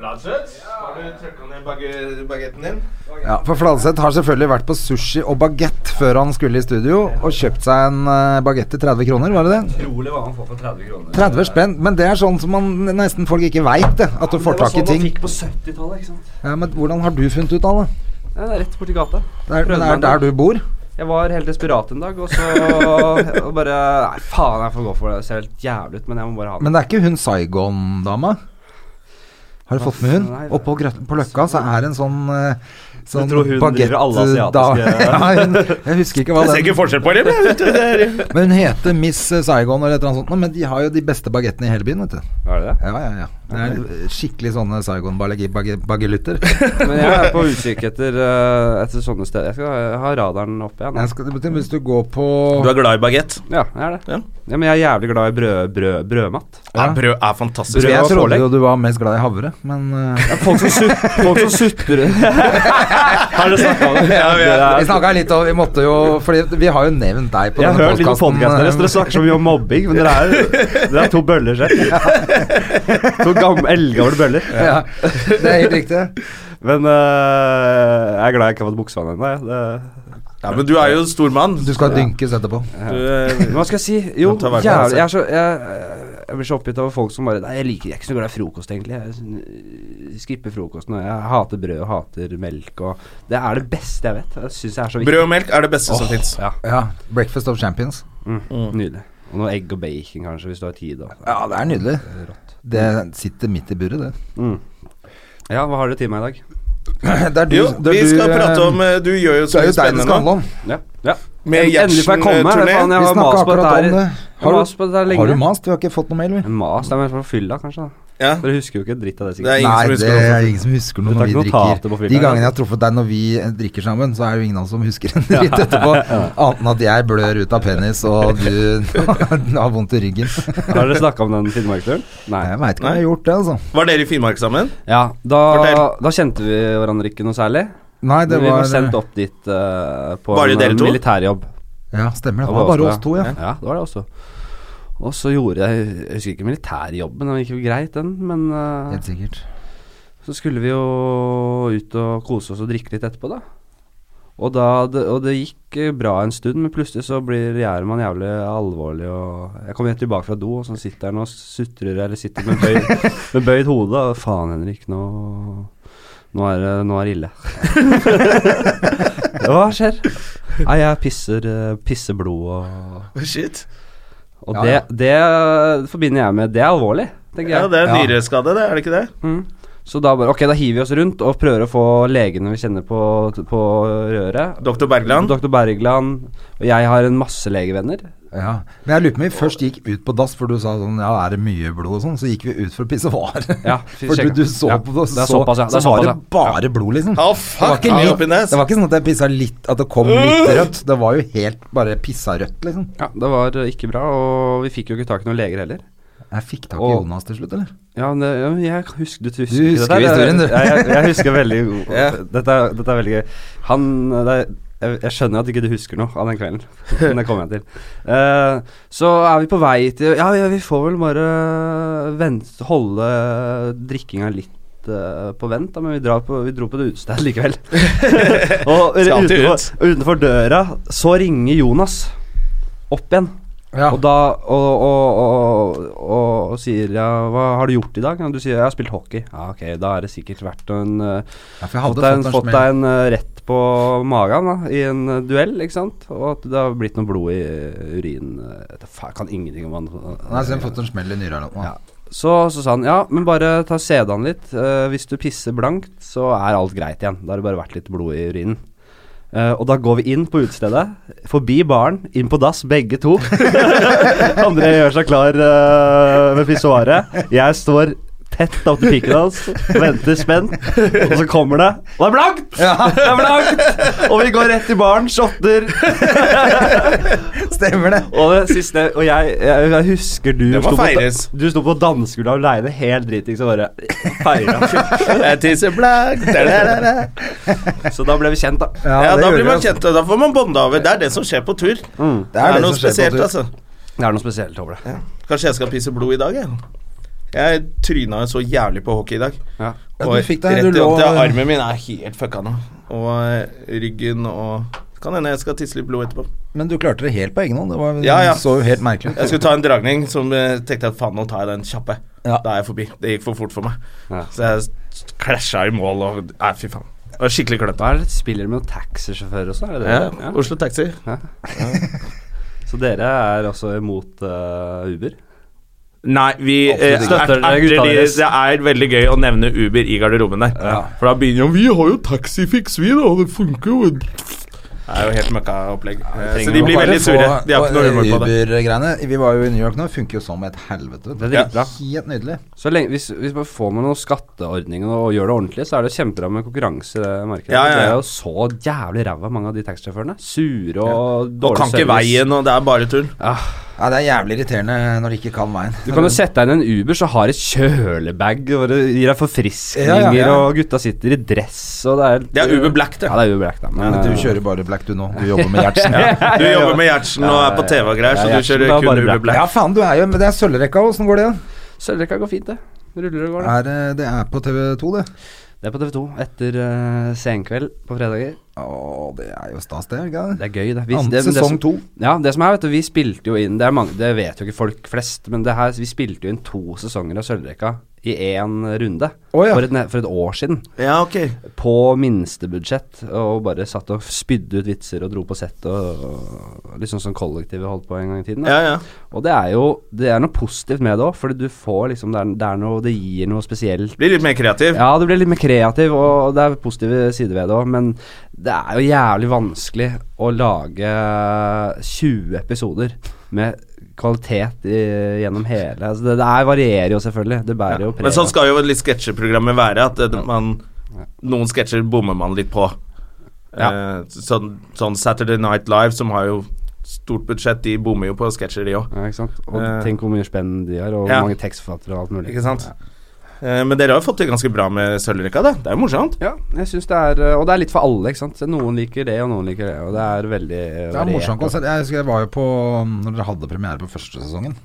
B: Fladseth, har du trykka ned bag- bagetten din?
A: Ja, for Fladseth har selvfølgelig vært på sushi og bagett før han skulle i studio, og kjøpt seg en eh, bagett til 30 kroner, var det det?
C: Utrolig hva han får for 30 kroner.
A: 30 spenn, men det er sånn som man nesten folk ikke veit, det. At du får tak i ting.
C: sånn på 70-tallet, ikke sant.
A: Ja, men hvordan har du funnet ut av det?
C: Ja, det er rett borti gata.
A: Det er,
C: Prøvde
A: det er
C: meg
A: der du bor?
C: Jeg var helt desperat en dag, og så og bare Nei, faen, jeg får gå for det. Det ser helt jævlig ut, men jeg må bare ha det.
A: Men det er ikke hun Saigon-dama? Har du fått med hun?
C: Nei, det-
A: Oppå grøt- på Løkka så er det en sånn eh, Sånn
C: tror hun driver
A: bagett-
C: alle asiatiske-
A: da- ja, hun, jeg husker ikke hva
B: Jeg ser
A: den
B: ikke forskjell på dem. jeg, vet du, det er-
A: Men hun heter Miss Saigon eller et eller annet sånt, nå, men de har jo de beste bagettene i hele byen, vet du.
C: Er det det?
A: Ja, ja, ja. Det er skikkelig sånne Saigon-bagelutter.
C: Men jeg er på utkikk etter, eh, etter sånne steder. Jeg skal ha- ha radaren oppe igjen. da.
A: Hvis du går på
B: Du er glad i bagett?
C: Ja, jeg er det.
B: Ja.
C: Ja. men jeg er jævlig glad i brød, brød, brødmat.
B: Ja, brød er fantastisk.
C: Brød
A: Jeg
C: og
A: trodde
C: pålegg.
A: jo du var mest glad i havre, men eh,
C: Folk som, sut, folk som sutrer Har dere snakka om det?
B: Ja, vi er-
A: Vi snakka litt om Vi måtte jo Fordi vi har jo nevnt deg på
C: Jeg har
A: denne eh,
C: hørt litt på podcasten eh, deres.
A: podkasten.
C: Dere snakker så mye om mobbing, men dere er, dere er to bøller selv. To Gamle, eldgamle bøller.
A: Ja, det er helt riktig.
C: Men eh, jeg er glad jeg ikke har fått buksa ennå. jeg. Det-
B: Ja, men du er jo en stor mann.
A: Du skal dynkes etterpå.
B: Du, eh,
C: Men Hva skal jeg si? Jo,
B: Man tar hver
C: jævlig
B: sin
C: jeg,
B: seg.
C: er så, jeg, jeg blir så oppgitt over folk som bare Nei, jeg liker jeg er ikke så glad i frokost, egentlig. Jeg er sånn, øh, skipper frokosten. Og jeg hater brød og hater melk og Det er det beste jeg vet. Jeg syns jeg er så viktig.
B: brød og melk er det beste som fins.
C: Ja,
A: Ja, Breakfast of Champions.
C: Mm. Nydelig. Og noe egg og bacon, kanskje, hvis du har tid. Og.
A: Ja, det er nydelig. Eh, Det sitter midt i buret, det.
C: Ja, hva har dere til meg i dag?
A: Det er du,
B: Jo,
A: det er
B: vi
A: du,
B: skal
A: eh,
B: prate om eh, Du gjør jo
A: Det
B: så
A: er
B: mye
A: jo deg det skal
B: spennende
A: handle
B: nå.
A: om.
C: Ja. ja.
B: Med
C: En- Endelig får
B: Gjertsen,
C: jeg
B: eh,
C: komme.
B: turné.
C: Faen, jeg
A: Vi
C: har
A: snakka
C: mast på
A: akkurat om
C: dette
A: det.
C: her.
A: Har
C: Mas på
A: du,
C: dette her lenge.
A: har du mast? Vi har ikke fått noe mail, vi.
C: Mas, det er mer for fylla, kanskje. da
B: Ja.
C: Dere husker jo ikke en dritt av det,
B: Det er
C: sikkert.
B: ingen som
A: Nei, det
B: husker det. altså.
A: er ingen som husker noe
C: Du
A: når
C: tar
A: vi
C: ikke notater på
A: drikker.
C: fylla,
A: De gangene
C: eller?
A: jeg har truffet deg når vi eh, drikker sammen, så er det jo ingen av oss som husker en dritt etterpå. Annet enn at jeg blør ut av penis, og du har vondt i ryggen.
C: Har dere snakka om den Finnmarksturen? Nei.
A: Jeg veit ikke om jeg har gjort det, altså.
B: Var dere i Finnmark sammen?
C: Ja, da,
B: Fortell.
C: da kjente vi hverandre ikke noe særlig.
A: Nei, det
C: Men vi var
A: var
C: sendt opp dit eh, på
B: Var det
C: en
B: dere to?
C: militærjobb.
A: Ja, stemmer det. Det var bare oss to, ja.
C: Ja, det var det også. Og så gjorde jeg Jeg husker ikke militærjobben, den gikk jo greit, den, men eh,
A: Helt sikkert.
C: så skulle vi jo ut og kose oss og drikke litt etterpå, da. Og, da, det, og det gikk eh, bra en stund, men plutselig så blir Gjerman jævlig alvorlig og Jeg kommer helt tilbake fra do, og så sitter han og sutrer eller sitter med bøyd, med bøyd hode. Og faen, Henrik, nå, nå, er, det- nå er det ille. Hva skjer? Nei, jeg pisser, eh, pisser blod og
B: Shit.
C: Og det, det forbinder jeg med Det er alvorlig, tenker jeg.
B: Ja, det er
A: Ja.
B: nyreskade, det. Er det ikke det?
C: Mm. Så da bare Ok, da hiver vi oss rundt og prøver å få legene vi kjenner på, på røret.
B: Dr. Bergland.
C: Dr. Bergland. Og jeg har en masse legevenner.
A: Ja. Men jeg lurer på om vi først gikk ut på dass, for du sa sånn Ja, er det mye blod og sånn? Så gikk vi ut for å pisse var.
C: Ja,
A: For du, du så
C: Ja,
A: på det,
C: det
A: så,
C: er såpass, ja. Det er
A: så var det
C: såpass,
A: bare blod, liksom.
B: Å, fuck,
A: det, var
B: jeg er
A: ikke
B: oppi
A: litt,
B: nes.
A: det var ikke sånn at jeg pissa litt At det kom litt rødt. Det var jo helt bare pissa rødt, liksom.
C: ja, det var eh, ikke bra, og vi fikk jo ikke tak i noen leger heller.
A: Jeg fikk tak i
C: Og-
A: Jonas til slutt, eller?
C: Ja, men det, ja, men jeg husker, du husker,
A: Du husker
C: dette her,
A: historien, du.
C: Jeg, jeg, jeg husker veldig god dette, er- dette er veldig gøy. Han det, er- jeg, jeg skjønner at ikke du husker noe av den kvelden. Men det kommer jeg til. Eh, så er vi på vei til Ja, ja vi får vel bare vente, holde drikkinga litt eh, på vent, da, men vi, drar på, vi dro på et utested likevel. og
B: Skal alltid
C: utenfor, utenfor døra så ringer Jonas opp igjen.
A: Ja.
C: Og da og, og, og, og, og sier ja, 'Hva har du gjort i dag?' Ja, Du sier 'Jeg har spilt hockey'. Ja, ok, da er det sikkert vært en eh,
A: for jeg hadde
C: Fått deg en,
A: fått en
C: fått
A: smell.
C: deg en eh, rett på magen da, i en eh, duell, ikke sant? Og at det har blitt noe blod i eh, urinen. eh, jeg vet da faen, jeg kan ingenting om han
A: Nei, så jeg har fått en smell i nyra eller noe.
C: Ja. så, så sa han ja, men bare ta CD-en litt. Eh, hvis du pisser blankt, så er alt greit igjen. Da har det bare vært litt blod i urinen. Eh, og da går vi inn på utestedet, forbi baren, inn på dass, begge to. André gjør seg klar eh, ved pissoaret. Jeg står tett opp til pikken hans, venter spent, og så kommer det. Og det er blankt! Det er blankt! Og vi går rett i baren, shotter.
A: Stemmer det.
C: Og det siste Og jeg, jeg, jeg husker du
B: Det må
C: sto på-
B: feires.
C: Du sto på dansegulvet aleine, helt dritings, og bare feira.
B: Jeg tisser blank. Da, da, da, da.
C: Så da ble vi kjent, da.
B: Ja, da
A: gjorde
B: blir
A: jeg, altså.
B: man
A: Mm.
B: kjent, og da får man bonda over. Det er det som skjer på tur. Det
A: Det er,
B: er
A: det
B: noe
A: som skjer
B: spesielt,
A: på tur.
B: altså.
C: Det er noe spesielt over det.
B: Kanskje jeg skal pisse blod i dag, jeg. Jeg tryna så jævlig på hockey i dag.
C: Ja.
A: Ja,
B: Og
A: du fikk deg-
B: rett
A: du
B: i
A: lå-
B: opp til armen min er helt fucka nå. Og eh, ryggen og Kan hende jeg skal tisse litt blod etterpå.
A: Men du klarte det helt på egen hånd. Det var,
B: Ja, ja.
A: så jo helt merkelig ut.
B: Jeg skulle ta en dragning som eh, tenkte jeg faen, nå tar jeg den kjappe.
A: Ja.
B: Da er jeg forbi. Det gikk for fort for meg.
C: Ja.
B: Så jeg s- klasja i mål og Nei, fy faen. Det var skikkelig klønete.
C: Da er det litt spiller med noen taxisjåfører også, er det det?
B: Ja, Oslo Taxi.
C: Så dere er også imot eh, Uber?
B: Nei, vi eh,
C: Absolutt ikke.
B: erter
C: Støtter dere
B: de
C: gutta deres?
B: Det er veldig gøy å nevne Uber i garderoben der. For da begynner jo Vi har jo taxifix, vi, da. Det funker jo. Det er jo helt møkka opplegg. Eh, Så de blir
A: Bare
B: veldig
A: få-
B: sure. De har ikke noe humor
C: eh,
B: på det.
A: Uber-greiene. Vi var jo i New York nå, funker jo som et helvete.
C: Det er dritbra.
A: Helt nydelig.
C: Så lenge, hvis, hvis man får med noen skatteordninger og gjør det ordentlig, så er det kjempebra med konkurranse i det markedet.
B: Ja, ja, ja.
C: Det er jo så jævlig ræva mange av de taxisjåførene. Sure og
B: Og
C: dårlig
B: kan ikke
C: service.
B: veien, og det er bare tull.
A: Ja, det er jævlig irriterende når de ikke kan veien.
C: Du kan jo sette deg inn i en Uber, så har et kjølebag og det gir deg forfriskninger,
A: Ja, ja, ja.
C: og gutta sitter i dress, og det er
B: Det er Uber Black, det.
C: Ja, det er Uber Black, da. Men, eh,
A: Du kjører bare black, du nå. Du jobber med Gjertsen.
B: Du jobber med Gjertsen og er på TV og greier, så
C: Ja,
B: du
C: Gjertsen,
B: kjører
C: da
B: kun
C: bare
B: Uber
C: black.
B: Black.
A: Ja, faen, du er jo Men det er sølvrekka, åssen går det? da?
C: Sølvrekka går fint, det. Ruller og går, det.
A: Er, eh, det- det er på TV2, det.
C: Det er på TV2 etter eh, senkveld på fredager.
A: Å, det er jo stas, det. er ikke
C: Det
A: det?
C: er gøy, det.
A: Annen
C: det, men det
A: sesong
C: som-
A: to.
C: Ja, det som er, vet du, vi spilte jo inn Det, er mange, det vet jo ikke folk flest, men det her, vi spilte jo inn to sesonger av Sølvrekka i én runde
A: Å, ja.
C: for, et, ne- for et år siden.
D: Ja, ok.
C: På minstebudsjett, og bare satt og spydde ut vitser og dro på sett og, og Litt sånn som kollektivet holdt på en gang i tiden. da.
D: Ja, ja.
C: Og det er jo Det er noe positivt med det òg, fordi du får liksom Det er, det er noe Det gir noe spesielt.
B: Blir litt mer kreativ.
C: Ja, du blir litt mer kreativ, og det er positive sider ved det òg, men det er jo jævlig vanskelig å lage 20 episoder med kvalitet i, gjennom hele altså det, det er, varierer jo selvfølgelig. Det bærer jo preg.
B: Men sånn
C: av-
B: skal jo litt sketsjeprogrammet være. At eh, man, noen sketsjer bommer man litt på. Eh, sånn, sånn Saturday Night Live, som har jo stort budsjett, de bommer jo på sketsjer, de òg.
C: ja, ikke sant? Og
B: Eh.
C: tenk hvor mye spenn de har, og hvor
B: Ja.
C: mange tekstforfattere og alt mulig.
B: Ikke sant? Eh, men dere har jo fått det ganske bra med Sølvrekka, det. Det er jo morsomt.
C: Ja, jeg synes det er Og det er litt for alle, ikke sant. Noen liker det, og noen liker det, og det er veldig
A: Det er morsomt konsept. Jeg husker jeg var jo på um, Når dere hadde premiere på første sesongen.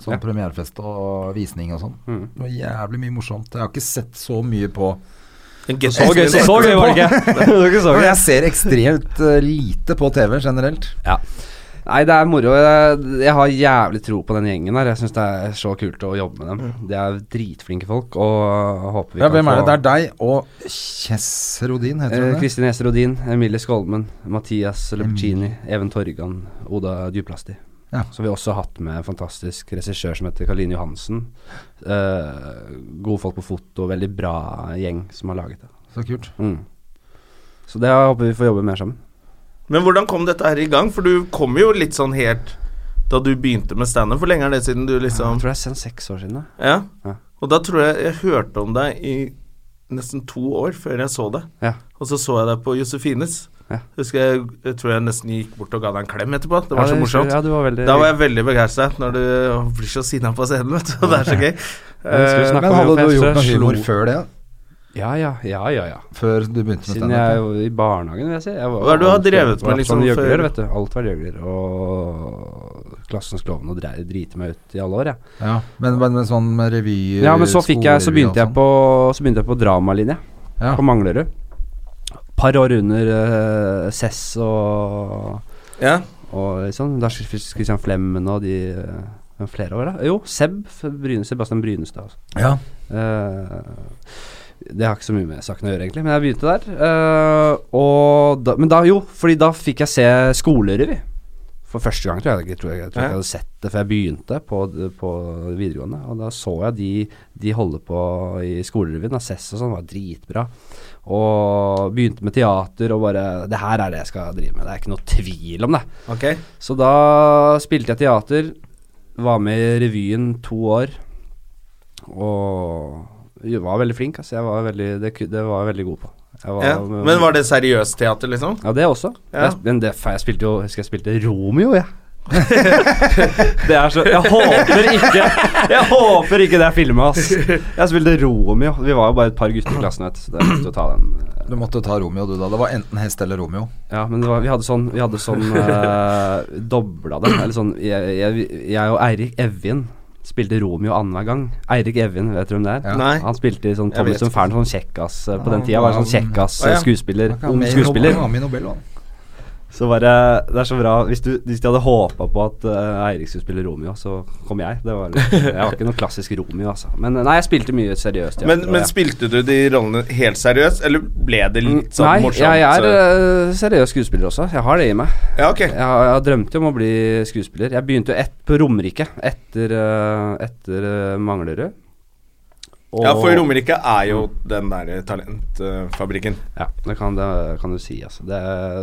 A: Sånn
C: Ja. Mm.
A: premierefest og visning og sånn. Det var jævlig mye morsomt. Jeg har ikke sett så mye på
B: En guest-
C: Så gøy, så, så gøy var det ikke. Det var ikke så gøy.
A: Jeg ser ekstremt eh, lite på TV generelt.
C: Ja. Nei, det er moro. Jeg, jeg har jævlig tro på den gjengen her. Jeg syns det er så kult å jobbe med dem. De er dritflinke folk, og jeg håper vi
A: Ja,
C: kan
A: hvem er det?
C: få
A: Det er deg og Kjess Rodin, heter
C: Eh,
A: hun det?
C: Kristin Ester Odin, Emilie Skolmen, Mathias Lubcini, Even Torgan, Oda Djuplasti.
A: Ja.
C: Som vi også har hatt med en fantastisk regissør som heter Karoline Johansen. Eh, gode folk på foto, veldig bra gjeng som har laget det.
A: Så kult.
C: Mm. Så det håper vi får jobbe mer sammen.
B: Men hvordan kom dette her i gang? For du kom jo litt sånn helt da du begynte med standup. Hvor lenge er det siden du liksom
C: Jeg tror det er sen seks år siden. da.
B: Ja.
C: Ja.
B: Og da tror jeg jeg hørte om deg i nesten to år før jeg så det.
C: Ja.
B: Og så så jeg deg på Josefines.
C: Ja.
B: Husker jeg, jeg tror jeg nesten gikk bort og ga deg en klem etterpå. Det var
C: Ja,
B: så
C: husker-
B: morsomt.
C: Ja, du var veldig
B: Da var jeg veldig begeistret når du blir så sinna på scenen, vet du. Det er så gøy.
C: husker vi
B: Eh,
C: snakket
A: Men
C: om
A: hadde du
C: det, for jeg
A: gjort noe
C: slo-
A: humor før det?
C: Ja, ja, ja, ja, ja.
A: Før du begynte med
C: Siden
A: standup?
C: jeg
A: ja?
C: var i barnehagen, vil jeg si. Jeg var,
B: Hva er det du har
C: alt-
B: drevet
C: var
B: med, liksom,
C: sånn
B: før-
C: gjøgler, vet du. Alt var gjøgler. Og Klassens klovn og drei- drite meg ut i alle år, jeg.
A: Ja, men, men, men sånn med revy
C: Ja, men så fikk jeg Så begynte
B: altså?
C: jeg på Så begynte jeg på dramalinje
A: sånn. Ja.
C: på Manglerud. Par år under eh, Cess og
B: ja.
C: og liksom, da sk- sk- Christian Flemmen og de eh, hvem flere år, da? Jo, Seb. F- Bryne, Sebastian Brynestad. Altså.
A: Ja.
C: Eh, det har ikke så mye med saken å gjøre, egentlig, men jeg begynte der. eh, og da, men da, jo, fordi da fikk jeg se skolerevy. For første gang, tror jeg. Jeg tror, jeg, jeg tror ikke jeg hadde sett det før jeg begynte på, på videregående. Og da så jeg de, de holde på i skolerevyen. Assess og sånn var dritbra. Og begynte med teater og bare Det her er det jeg skal drive med. Det er ikke noe tvil om det.
B: Ok.
C: Så da spilte jeg teater, var med i revyen to år, og jeg var veldig flink, altså. Jeg var veldig, det, ku- det var jeg veldig god på. Jeg var,
B: Ja. Men var det seriøst teater, liksom?
C: Ja, det også.
B: Ja.
C: Jeg, men det, faen, jeg spilte jo, jeg husker jeg spilte Romeo, jeg. det er så Jeg håper ikke Jeg håper ikke det er filma, ass. Jeg spilte Romeo. Vi var jo bare et par gutter i klassen, vet du, så det er viktig å ta den. eh,
A: Du måtte ta Romeo, du da. Det var enten hest eller Romeo.
C: ja, men det var, vi hadde sånn, vi hadde sånn eh, dobla det. Eller sånn, jeg, jeg, jeg og Eirik Evjen spilte Romeo annenhver gang. Eirik Evjen, vet du hvem det er?
A: Ja.
B: Nei.
C: Han spilte i sånn Tommy
B: vet
C: som Fern, sånn kjekkas eh, på
B: Ah.
C: den
A: Ja,
C: tida. Var sånn
A: han-
C: kjekkas
B: Å, ja.
C: eh, skuespiller.
A: Han
C: Ung
A: med i
C: skuespiller.
A: Nobel- han var med i Nobel, han.
C: Så var det Det er så bra. Hvis, du, hvis de hadde håpa på at eh, Eirik skulle spille Romeo, så kom jeg. Det var, jeg var ikke noen klassisk Romeo, altså. Men eh, nei, jeg spilte mye seriøst. teater,
B: Men,
C: og
B: men
C: jeg-
B: spilte du de rollene helt seriøst, eller ble det litt sånn
C: Nei,
B: morsomt?
C: jeg er
B: så-
C: eh, seriøs skuespiller også. Jeg har det i meg.
B: Ja, ok.
C: Jeg, har- jeg drømte jo om å bli skuespiller. Jeg begynte jo ett på Romerike etter, eh, etter eh, Manglerud. Og-
B: Ja, for Romerike er jo den der talentfabrikken.
C: Ja, det kan, det kan du si, altså. Det,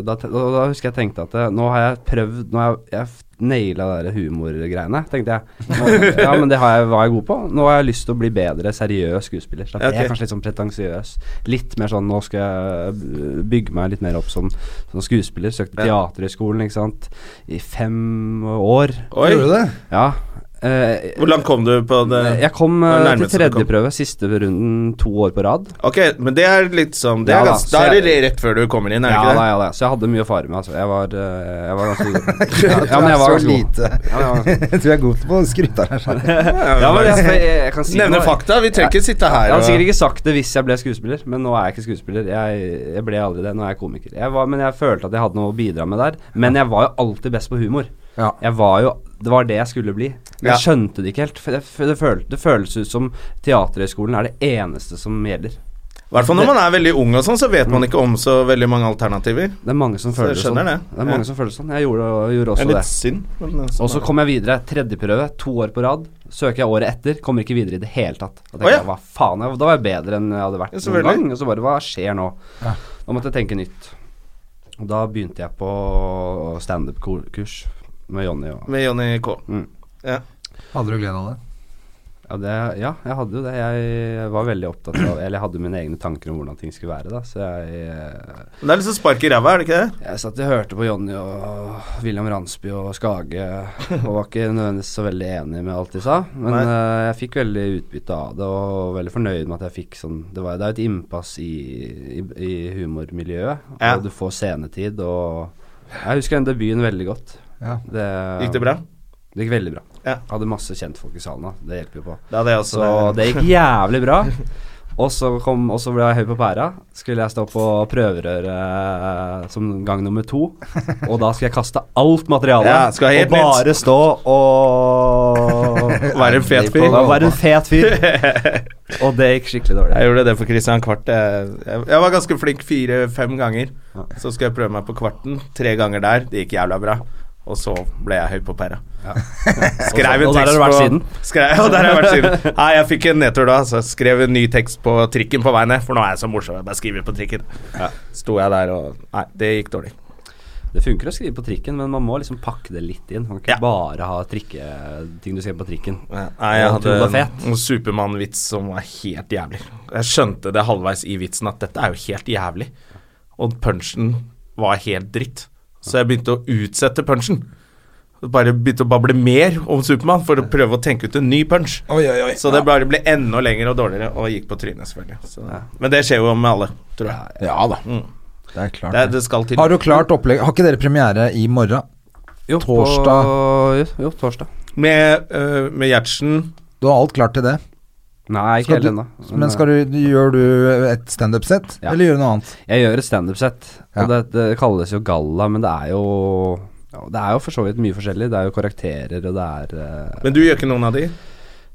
C: da, te- og da husker jeg tenkte at eh, nå har jeg prøvd Nå har jeg, jeg f- naila de der humorgreiene, tenkte jeg. Nå, ja, men det har jeg, var jeg god på. Nå har jeg lyst til å bli bedre seriøs skuespiller. Så
B: Ja,
C: Jeg er
B: ok.
C: kanskje litt sånn pretensiøs. Litt mer sånn Nå skal jeg eh, bygge meg litt mer opp som, som skuespiller. Søkte
B: Ja.
C: Teaterhøgskolen, ikke sant. I fem år.
B: Oi.
A: Gjorde du det?
C: Ja. Eh,
B: Hvor langt kom du på det?
C: jeg kom eh,
B: Det er
C: til
B: nærmest du
C: tredje
B: kom.
C: prøve, siste runden to år på rad.
B: Ok, men det er litt sånn det er
C: Ja da,
B: gans,
C: så
B: Da er
C: jeg-
B: det rett før du kommer inn, er det
C: Ja,
B: ikke det?
C: da, ja, da. Så jeg hadde mye å fare med. Altså. Jeg var, eh, jeg var ganske god.
A: Ja,
C: ja, men jeg var
A: så
C: ganske god.
A: lite.
C: Ja, men jeg var ganske god.
A: Du er god på å skryte av deg selv.
C: Ja, men jeg, jeg, jeg kan si
B: Nevne
C: noe.
B: fakta. Vi trenger ikke sitte her
C: Jeg hadde sikkert
B: og
C: ikke sagt det hvis jeg ble skuespiller, men nå er jeg ikke skuespiller. Jeg, jeg ble aldri det, nå er jeg komiker. Jeg var, men jeg følte at jeg hadde noe å bidra med der. Men jeg var jo alltid best på humor.
A: Ja.
C: Jeg var jo, Det var det jeg skulle bli. Men
B: Ja.
C: jeg skjønte det ikke helt. For jeg, f- det, følte, det føles ut som Teaterhøgskolen er det eneste som gjelder.
B: I hvert fall når man er veldig ung og sånn, så vet man ikke om så veldig mange alternativer.
C: Det er mange som
B: Så
C: føler
B: jeg
C: det
B: skjønner
C: sånn.
B: det.
C: er mange
B: Ja.
C: som føler det sånn. Jeg gjorde, gjorde
B: Det
C: også
B: er
C: det.
B: litt synd. men det er sånn
C: Og så
B: det er.
C: kom jeg videre. Tredjeprøve, to år på rad. Søker jeg året etter, kommer ikke videre i det hele tatt. Da tenkte
B: Å, ja.
C: jeg, hva faen, jeg, Da var jeg bedre enn jeg hadde vært
B: Ja,
C: noen
B: selvfølgelig.
C: gang. Og så bare, hva skjer nå? Da måtte jeg tenke nytt. Og da begynte jeg på standup-kurs med Jonny og
B: Med Jonny K.
C: Mm.
B: Ja.
A: Hadde du glede av det?
C: ja, det, ja, jeg hadde jo det. Jeg var veldig opptatt av Eller jeg hadde mine egne tanker om hvordan ting skulle være, da. Så jeg eh,
B: Men Det er litt sånn spark i ræva, er det ikke det?
C: Jeg satt og hørte på Jonny og William Ransby og Skage, og var ikke nødvendigvis så veldig enig med alt de sa. Men
B: Nei.
C: eh, jeg fikk veldig utbytte av det, og veldig fornøyd med at jeg fikk sånn Det, var, det er jo et innpass i, i, i humormiljøet,
B: Ja.
C: og du får scenetid, og Jeg husker den debuten veldig godt.
A: Ja.
C: Det,
B: Gikk det bra?
C: Det gikk veldig bra.
B: Ja.
C: Hadde masse kjentfolk i salen da. Det hjelper jo på.
B: Da hadde jeg også
C: Så det gikk jævlig bra. Og så, kom, og så ble jeg høy på pæra. Skulle jeg stå på prøverør eh, som gang nummer to. Og da skulle jeg kaste alt materialet.
B: Ja, skal ha helt
C: og bare stå og
B: Være en fet fyr.
C: Ja, Være en fet fyr. Og det gikk skikkelig dårlig.
B: Jeg gjorde det for Christian Kvart. Jeg, jeg jeg var ganske flink fire-fem ganger.
C: Ja.
B: Så skulle jeg prøve meg på kvarten. Tre ganger der. Det gikk jævla bra. Og så ble jeg høy på pæra. Skrev en
C: Og så- og der har
B: tekst
C: du vært
B: på-
C: siden.
B: Skrev, ja, der har jeg vært siden. Nei, jeg fikk en nedtur da, så jeg skrev en ny tekst på trikken på vei ned. For nå er jeg så morsom, jeg bare skriver på trikken. Ja. Sto jeg der og Nei, det gikk dårlig.
C: Det funker å skrive på trikken, men man må liksom pakke det litt inn. Man kan
B: Ja.
C: ikke bare ha trikke, ting du skriver på trikken.
B: Nei, jeg
C: Og
B: hadde
C: Trude er fet.
B: en Supermann-vits som var helt jævlig. Jeg skjønte det halvveis i vitsen at dette er jo helt jævlig. Og punchen var helt dritt. Så jeg begynte å utsette punchen. Bare begynte å bable mer om Supermann for å prøve å tenke ut en ny punch. Så det bare ble enda lengre og dårligere, og gikk på trynet, selvfølgelig. Så. Men det skjer jo med alle, tror jeg.
A: Ja da. Mm. Det er klart.
B: Det, det skal til.
A: Har du klart opplegg Har ikke dere premiere i morgen?
C: Jo,
A: Torsdag.
C: På, jo, jo, torsdag.
B: Med, øh, med Gjertsen
A: Du har alt klart til det.
C: Nei, ikke
A: Skal
C: helt
A: du,
C: ennå.
A: men skal du, gjør du et standup-sett,
C: Ja.
A: eller gjør du noe annet?
C: Jeg gjør et standup-sett, og det, det kalles jo galla, men det er jo ja, Det er jo for så vidt mye forskjellig. Det er jo karakterer, og det er eh,
B: Men du gjør ikke noen av de?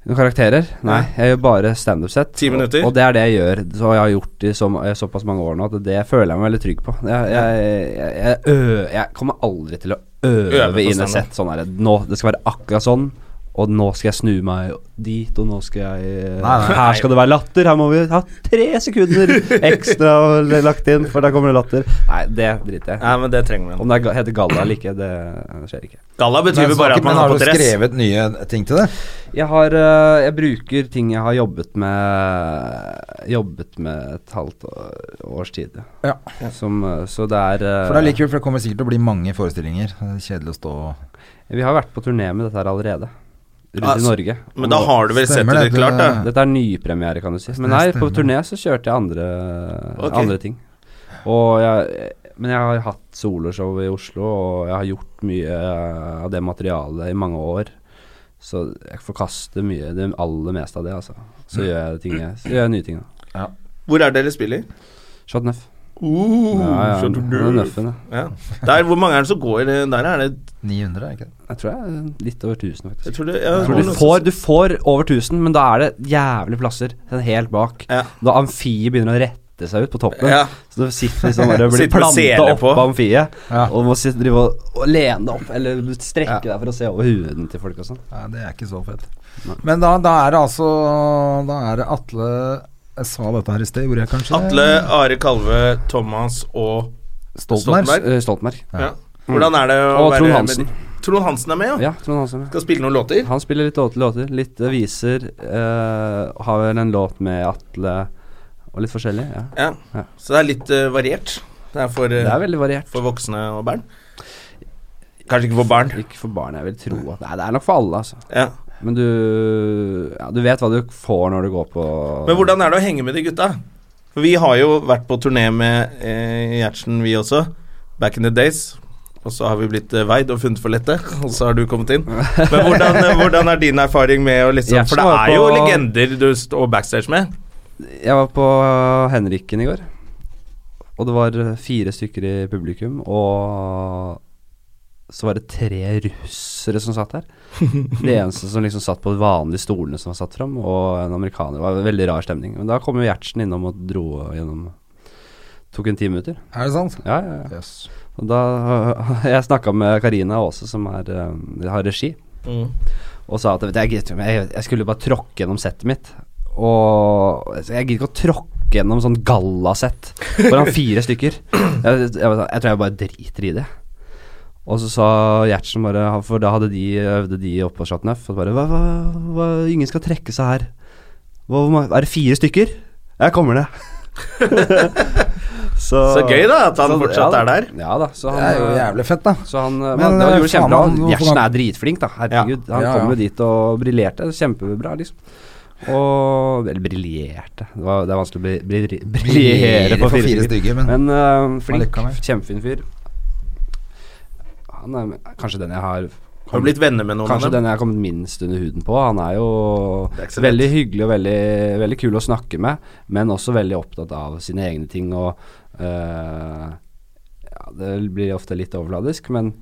C: noen Karakterer? Nei, jeg gjør bare standup-sett.
B: Ti minutter?
C: Og, og det er det jeg gjør. Så jeg har gjort det i så, ma- i såpass mange år nå at det føler jeg meg veldig trygg på. Jeg, jeg, jeg, jeg, ø, jeg kommer aldri til å øve,
B: Øve på
C: inn
B: standup.
C: et sett sånn her. Nå, det skal være akkurat sånn. Og nå skal jeg snu meg dit, og nå skal jeg
A: Nei, nei.
C: Her skal det være latter. Her må vi ha tre sekunder ekstra lagt inn, for da kommer det latter. Nei, det driter jeg i.
B: Nei, men det trenger man.
C: Om det er ga- heter galla eller ikke, det det skjer ikke.
B: Galla betyr
A: Men
B: jo bare
A: snakker-
B: at
A: men
B: man har
A: har
B: på
A: du
B: dress.
A: skrevet nye ting til det?
C: Jeg har øh, Jeg bruker ting jeg har jobbet med Jobbet med et halvt å- års tid.
A: Ja.
C: Som, øh, så det er øh,
A: For det er like kult, for det kommer sikkert til å bli mange forestillinger. Det er Kjedelig å stå
C: Vi har vært på turné med dette her allerede. Rundt
B: Ah,
C: i
B: så-
C: Norge.
B: Men da har du vel sett
A: Stemmer det,
B: det litt klart, da?
A: det-
C: Dette er nypremiere, kan du si. Men nei, på turné så kjørte jeg andre,
B: Ok.
C: andre ting. Og jeg, men jeg har hatt soloshow i Oslo, og jeg har gjort mye eh, av det materialet i mange år. Så jeg forkaster mye, det aller meste av det, altså.
B: Mm.
C: Så gjør jeg, ting, jeg- så gjør jeg nye ting. da.
B: Hvor er det dere spiller?
C: Shot Nuff.
B: Uh,
C: Ja, ja, det er Nuffen, ja.
B: ja. Der, hvor mange er det som går i det der? Er det,
A: 900, er det ikke det?
C: Jeg tror jeg er litt over 1000, faktisk.
B: jeg tror det ja,
C: Jeg tror du, får, du får over 1000, men da er det jævlig plasser. Den helt bak.
B: Ja.
C: Da amfiet begynner å rette seg ut på toppen.
B: Ja.
C: Så du sitter liksom bare og blir
B: Sitter med sele
C: planta opp
B: på.
C: av amfiet.
A: Ja.
C: Og må sitte, drive og, og lene deg opp, eller strekke deg for å se over huden til folk og sånn.
A: Nei, det er ikke så fett. Men da, da er det altså Da er det Atle Jeg sa dette her i sted, gjorde jeg kanskje det?
B: Atle, Are Kalve, Thomas og
A: Stoltenberg.
B: Stoltenberg.
C: Eh, Stoltenberg.
B: ja. Hvordan er det å
C: Og
B: være
C: Trond
B: med-
C: Hansen.
B: Trond Hansen er med, ja.
C: Ja, Trond Hansen. ja.
B: Skal spille noen låter.
C: Han spiller litt låter, låter litt eh, viser. eh, har vel en låt med Atle og litt forskjellig. Ja.
B: Ja.
C: Ja.
B: Så det er litt eh, variert. Det er for, eh,
C: Det er veldig variert.
B: for voksne og barn. Kanskje ikke for barn.
C: Ikke for barn, jeg vil tro. at Nei, det er nok for alle, altså.
B: Ja.
C: Men du ja, Du vet hva du får når du går på
B: Men hvordan er det å henge med de gutta? For vi har jo vært på turné med eh, Gjertsen, vi også. Back in the days. Og så har vi blitt eh, veid og funnet for lette, og så har du kommet inn. Men hvordan, eh, hvordan er din erfaring med å liksom For det
C: Gjertsen var
B: er jo
C: på-
B: legender du står backstage med.
C: Jeg var på eh, Henriken i går, og det var eh, fire stykker i publikum, og så var det tre russere som satt der. De eneste som liksom satt på de vanlige stolene som var satt fram, og en amerikaner. Det var en veldig rar stemning. Men da kom jo Gjertsen innom og dro gjennom Tok en ti minutter.
A: Er det sant?
C: Ja, ja, ja. Og da Jeg snakka med Karina Aase, som er, eh, har regi, og sa at vet du, jeg, gidder ikke, men jeg, jeg skulle bare tråkke gjennom settet mitt. Og så jeg gidder ikke å tråkke gjennom sånn gallasett foran fire stykker. Jeg, jeg, var sånn, jeg tror jeg bare driter i det. Og så sa Gjertsen bare For da hadde de øvde de oppe på Chateauneuf. Og bare hva, hva, hva, Ingen skal trekke seg her. Hva, hvor mange- er det fire stykker? Jeg kommer ned.
B: Så gøy da, at han
C: så-
B: fortsatt
C: ja,
B: er der.
C: Ja da. Så han,
A: Det er jo jævlig fett, da.
C: så han, men,
A: Men,
C: det
A: eh,
C: var jo
A: faen,
C: kjempebra.
A: han- hvorfor
C: Gjertsen
A: han-
C: er dritflink, da. Herregud.
A: Ja,
C: Han
A: ja.
C: kom jo dit og briljerte. Kjempebra, liksom. Og Eller briljerte Det, var, det er vanskelig å bri- bri- briljere på fire stykker.
A: stykker. Men
C: Men eh, flink,
A: Allikevel.
C: kjempefin fyr. Han er kanskje den jeg har
B: Har du blitt venner med noen
C: Kanskje
B: av dem?
C: den jeg har kommet minst under huden på. Han er jo
B: Det er ikke så
C: veldig hyggelig og veldig, veldig kul å snakke med, men også veldig opptatt av sine egne ting og eh, ja, Det blir ofte litt overfladisk, men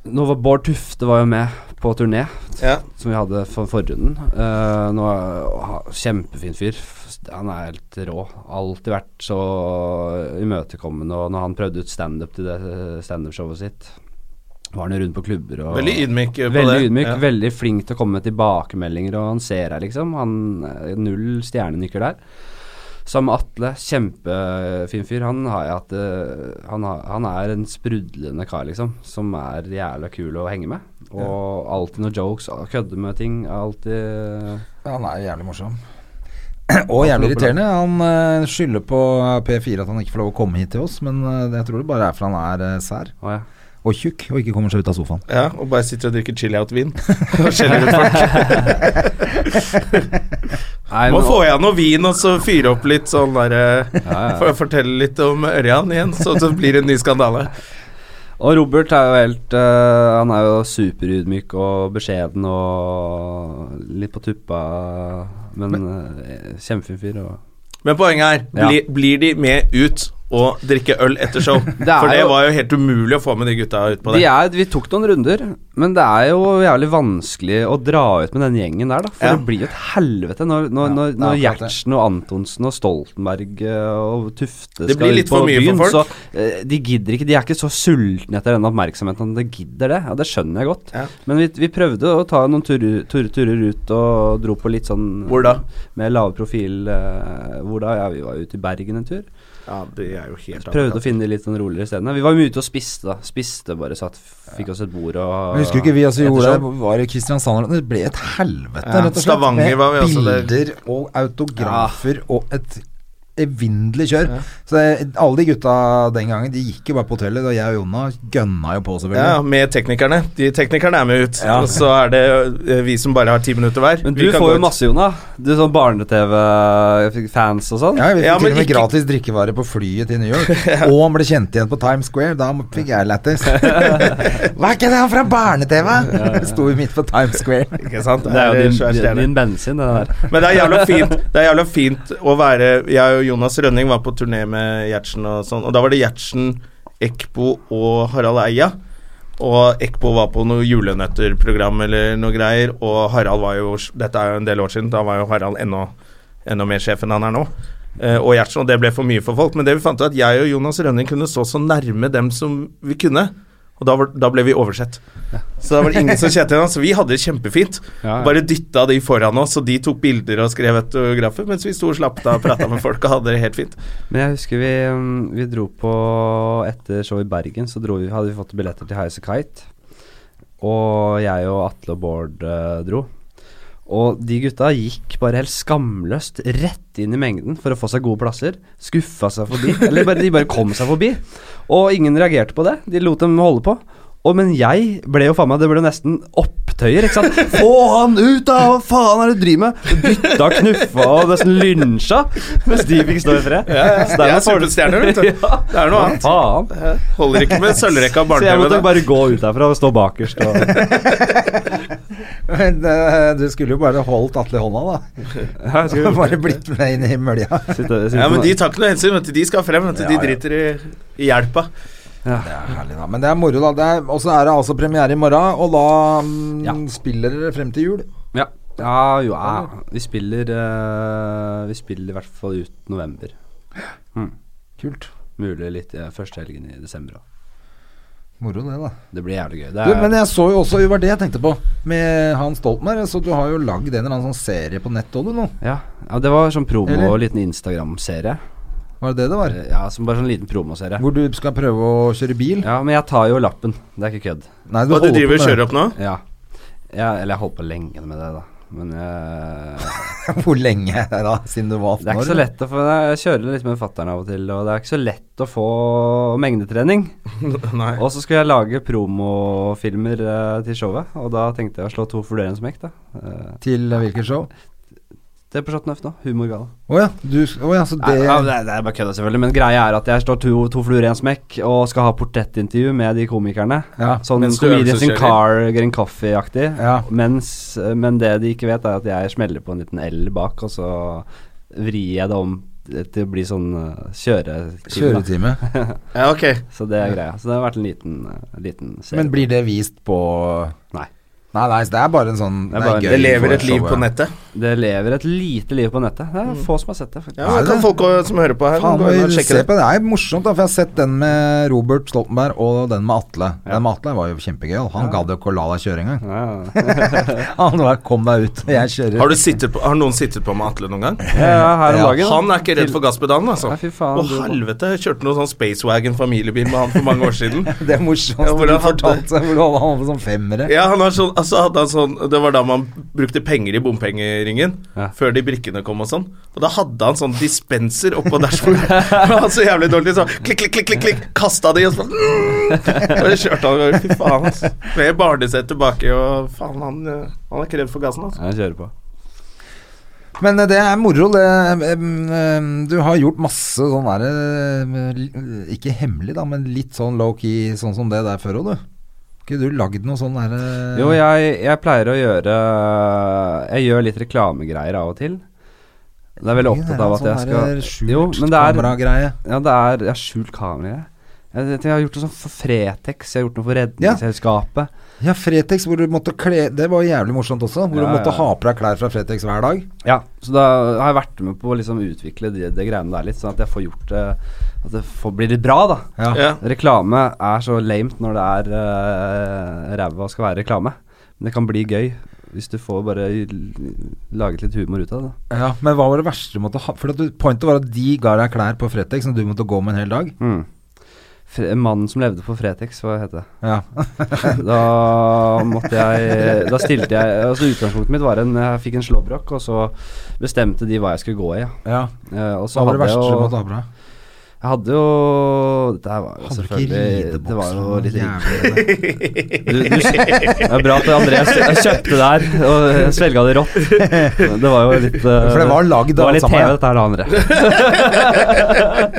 C: nå var Bård Tufte var jo med på turné,
B: Ja.
C: som vi hadde for forrunden. Eh, nå er, ha- kjempefin fyr. F- Han er helt rå. Alltid vært så imøtekommende. Og når han prøvde ut standup til det standup-showet sitt, var han jo rundt på klubber og
B: Veldig ydmyk eh, på
C: Veldig
B: det.
C: ydmyk,
B: Ja.
C: veldig flink til å komme med tilbakemeldinger, og han ser deg, liksom. Han eh, Null stjernenykker der. Sammen med Atle, kjempefin fyr. Han, har jeg hatt, eh, han, har, han er en sprudlende kar, liksom, som er jævla kul å henge med. Og alltid noen jokes, og kødder med ting. Alltid eh,
A: han er jævlig morsom. Og jævlig irriterende. Han eh, skylder på P4 at han ikke får lov å komme hit til oss, men eh, jeg tror det bare er for han er eh, sær
C: Å ja.
A: og tjukk og ikke kommer seg ut av sofaen.
B: Ja, og bare sitter og drikker chill-out-vin. Og skjeller ut folk.
C: Nei,
B: Må
C: men-
B: få i han noe vin, og så fyre opp litt sånn derre
C: ja.
B: For å fortelle litt om Ørjan igjen, så det blir det en ny skandale.
C: Og Robert er jo helt eh, Han er jo superydmyk og beskjeden og litt på tuppa, men, eh, kjempefin fyr. Og
B: Men poenget er,
C: Ja.
B: bli, blir de med ut og drikke øl etter show?
C: er
B: For det
C: jo-
B: var jo helt umulig å få med de gutta ut på
C: De
B: det.
C: er, vi tok noen runder, men det er jo jævlig vanskelig å dra ut med den gjengen der, da. For
B: Ja.
C: det blir jo et helvete når, når,
A: Ja,
C: når,
A: det er
C: når
A: akkurat det.
C: Gjertsen og Antonsen og Stoltenberg eh, og Tufte
B: Det blir
C: skal
B: litt
C: ut
B: for
C: på
B: mye for
C: byen,
B: folk.
C: Så, eh, de gidder ikke. De er ikke så sultne etter denne oppmerksomheten at de gidder det. Ja, det skjønner jeg godt.
B: Ja.
C: Men vi, vi prøvde å ta noen turer, turer, turer ut og dro på litt sånn
B: Hvor da?
C: Med lave profil. eh, hvor da? Ja, vi var ute i Bergen en tur.
B: Ja, det er jo helt
C: Prøvde å finne de litt sånn roligere stedene. Vi var mye ute og spiste, da. Spiste bare, satt, fikk oss et bord og
A: Jeg husker ikke vi også
C: etter
A: gjorde
C: show.
A: det. Var i Kristiansand Det ble et helvete,
B: Ja,
A: rett og slett.
B: Stavanger var vi også der.
A: Med bilder og autografer og et evinnelig kjør. Så det- alle de gutta den gangen, de gikk jo bare på hotellet. Og jeg og Jonna gønna jo på,
B: Ja,
A: selvfølgelig.
B: med teknikerne. De teknikerne er med ut. Og så er det eh, vi som bare har ti minutter hver.
C: Men
B: Vi
C: du
B: kan
C: får
B: gå
C: jo
B: ut.
C: masse, Jona. Du sånn barne-TV-fans og sånn.
A: Ja, vi fikk
B: Ja,
A: til
B: men
A: og med
B: ikke-
A: gratis drikkevare på flyet til New York. Og han ble kjent igjen på Times Square. Da fikk jeg lættis. Hva er ikke det han fra barne-TV? Sto vi midt på Times Square.
B: Ikke sant?
C: Det er jo
B: en
C: din,
B: svær stjerne.
C: din, din bensin, det der.
B: Men det er jævla fint Det er jævla fint å være Jeg og Jonas Rønning var på turné med Gjertsen og sånn, og da var det Gjertsen, Ekbo og Harald Eia. Og Ekbo var på noe julenøtterprogram eller noe greier, og Harald var jo Dette er jo en del år siden, da var jo Harald enda, enda mer sjef enn han er nå. Eh, og Gjertsen, og det ble for mye for folk. Men det vi fant ut, at jeg og Jonas Rønning kunne stå så nærme dem som vi kunne. Og da, var, da ble vi oversett. Så da var det ingen som kjente igjen oss. Vi hadde det kjempefint.
C: Ja, ja.
B: Bare dytta de foran oss, og de tok bilder og skrev autografer, mens vi sto og slappet av og prata med folk og hadde det helt fint.
C: Men jeg husker vi, mm, vi dro på Etter show i Bergen, så dro vi, hadde vi fått billetter til Highas Kite. Og jeg og Atle og Bård eh, dro. Og de gutta gikk bare helt skamløst rett inn i mengden for å få seg gode plasser. Skuffa seg forbi. Eller bare, de bare kom seg forbi. Og ingen reagerte på det. De lot dem holde på. Og, men jeg ble jo faen meg Det ble jo nesten opptøyer, ikke sant. Få han ut, da! Hva faen er det du driver med? Bytta, knuffa og nesten lynsja. Mens de fikk stå i fred. Så
B: Det er
C: dermed får du-
B: superstjerner, vet du.
C: Ja.
B: Det er noe annet.
C: Faen.
B: Holder ikke med sølvrekka
C: Så jeg
B: barne-TV.
C: måtte
B: da.
C: bare gå ut derfra og stå bakerst. Og
A: Men eh, du skulle jo bare holdt Atle i hånda, da.
C: ja, jeg skulle
A: Bare blitt med inn i mølja.
C: sitte, sitte
B: Ja, men
C: med-
B: de tar ikke noe hensyn. Vet du. De skal frem. Vet du. De
A: Ja, ja.
B: driter i, i hjelpa.
A: Det er herlig, da. Men det er moro, da. Det er- Og så er det altså premiere i morgen, og da mm,
C: Ja.
A: spiller dere frem til jul.
C: ja. ja, jo, ja. Vi spiller eh, Vi spiller i hvert fall ut november. Mm.
A: Kult.
C: Mulig litt eh, første helgen i desember. da.
A: Moro, det, da.
C: Det blir jævlig gøy. Det
A: Du,
C: er-
A: men jeg så jo også, det var det jeg tenkte på, med han Stoltenberg. Så du har jo lagd en eller annen sånn serie på nett òg, du nå.
C: Ja, ja det var sånn promo
A: Eller?
C: og liten Instagram-serie.
A: Var det det det var?
C: Eh, Ja, som bare sånn liten promoserie.
A: Hvor du skal prøve å kjøre bil?
C: Ja, men jeg tar jo lappen. Det er ikke kødd.
A: Nei,
B: Og du
A: holder
B: driver
A: på
B: og
A: med
B: kjører opp nå?
C: Ja. ja. Eller jeg holdt på lenge med det, da. Men eh,
A: Hvor lenge er det da, siden du var 18 år?
C: det er ikke så
A: eller?
C: lett å få Jeg kjører litt med fatter'n av og til, og det er ikke så lett å få mengdetrening.
B: Nei.
C: Og så skulle jeg lage promofilmer eh, til showet, og da tenkte jeg å slå to fluer i en smekk, da. Eh,
A: Til hvilket show?
C: det er på Chateau Neuf nå. Humorgala.
A: Å ja, du Å ja, så det
C: Nei, ja, det, det er bare kødda, selvfølgelig. Men greia er at jeg står to, to fluer i en smekk og skal ha portrettintervju med de komikerne.
A: Ja,
C: sånn
B: mens du
C: Comedians in
B: øvelseskjører.
C: Car, Green Coffee-aktig.
A: Ja.
C: Mens- eh, Men det de ikke vet, er at jeg smeller på en liten L bak, og så vrir jeg det om til å bli sånn uh, kjøretime. da.
A: Kjøretime.
B: Ja, ok.
C: Så det er greia. Så det har vært en liten, uh, liten serie.
A: Men blir det vist på
C: Nei.
A: Nei, nei, så det er bare en sånn
C: Det er bare en-
B: Det lever
A: for
B: et liv
A: showet.
B: på nettet.
C: Det lever et lite liv på nettet. Det er få som har sett det, faktisk.
B: Ja, men kan folk som hører på her,
A: Faen,
B: gå inn og
A: vi
B: sjekke
A: ser
B: det.
A: på det. det er morsomt, da, for jeg har sett den med Robert Stoltenberg og den med Atle. Den med Atle var jo kjempegøy. Han gadd jo ikke å la deg kjøre engang.
C: Ja.
A: Han var 'kom deg ut, jeg kjører'.
B: Har, du sittet på, har noen sittet på med Atle noen gang?
C: Ja, her om
A: Ja,
C: dagen. da.
B: Han er ikke redd for gasspedalen, altså.
C: Nei, fy faen,
B: Å,
C: du-
B: helvete. Jeg kjørte noen sånn Spacewagon familiebil med han for mange år siden.
A: Det er morsomst
B: Ja,
A: ja,
B: hvor
A: du
B: han hadde-
A: fortalte hvor han var på sånn femmere.
B: Ja, han har sånn, altså hadde han sånn Det var da man brukte penger i bompengeringen.
C: Ja.
B: Før de brikkene kom og sånn. Og da hadde han sånn dispenser oppå dashbordet. Han var så jævlig dårlig så klikk, klikk, klikk, klikk, klikk kasta de, og så bare kjørte han over. Fy faen, ass. Med barnesett tilbake og Faen, han, eh, han er ikke redd for gassen, altså.
C: Jeg kjører på.
A: Men eh, det er moro. Det, em, em, du har gjort masse sånn derre Ikke hemmelig, da, men litt sånn low-key, sånn som det der før òg, du. Ikke du lagd noe sånn derre
C: Jo, jeg, jeg pleier å gjøre Jeg gjør litt reklamegreier av og til. Det er veldig opptatt
A: sånn
C: av at jeg skal Jo, men det er,
A: eh, kameragreie.
C: ja, det er Jeg har skjult kamera, jeg. Jeg, jeg, jeg har gjort noe sånn for Fretex, jeg har gjort noe for Redningsselskapet.
A: Ja, Fretex hvor du måtte kle Det var jævlig morsomt også. Hvor du
C: Ja,
A: måtte
C: ja.
A: ha på deg klær fra Fretex hver dag.
C: Ja. Så da har jeg vært med på å liksom utvikle de, de greiene der litt, sånn at jeg får gjort det At det får, blir litt bra, da.
A: Ja.
B: Ja.
C: Reklame er så lamet når det er uh, ræva skal være reklame. Men det kan bli gøy hvis du får bare laget litt humor ut av det. da.
A: Ja, Men hva var det verste du måtte ha? For at du, Pointet var at de ga deg klær på Fretex som du måtte gå med en hel dag.
C: Mm. Fre mannen som levde på Fretex, hva heter det?
A: Ja.
C: Da måtte jeg Da stilte jeg Altså Utgangspunktet mitt var en Jeg fikk en slåbrok, og så bestemte de hva jeg skulle gå i. Ja.
A: ja.
C: Eh, Og så
A: Hva var det
C: hadde jeg
A: verste du
C: jo
A: måtte ha på deg?
C: Jeg hadde jo Dette her var jo
A: Hadde du ikke
C: selvfølgelig Det var jo litt rigg.
A: ridebukse?
C: Du, du, det er bra at Andreas jeg kjøpte det her og jeg svelga det rått. Det var jo litt eh,
A: For det var lagd
C: Det
A: av
C: var
A: alle
C: litt TV,
A: sammen.
C: dette her, da, André.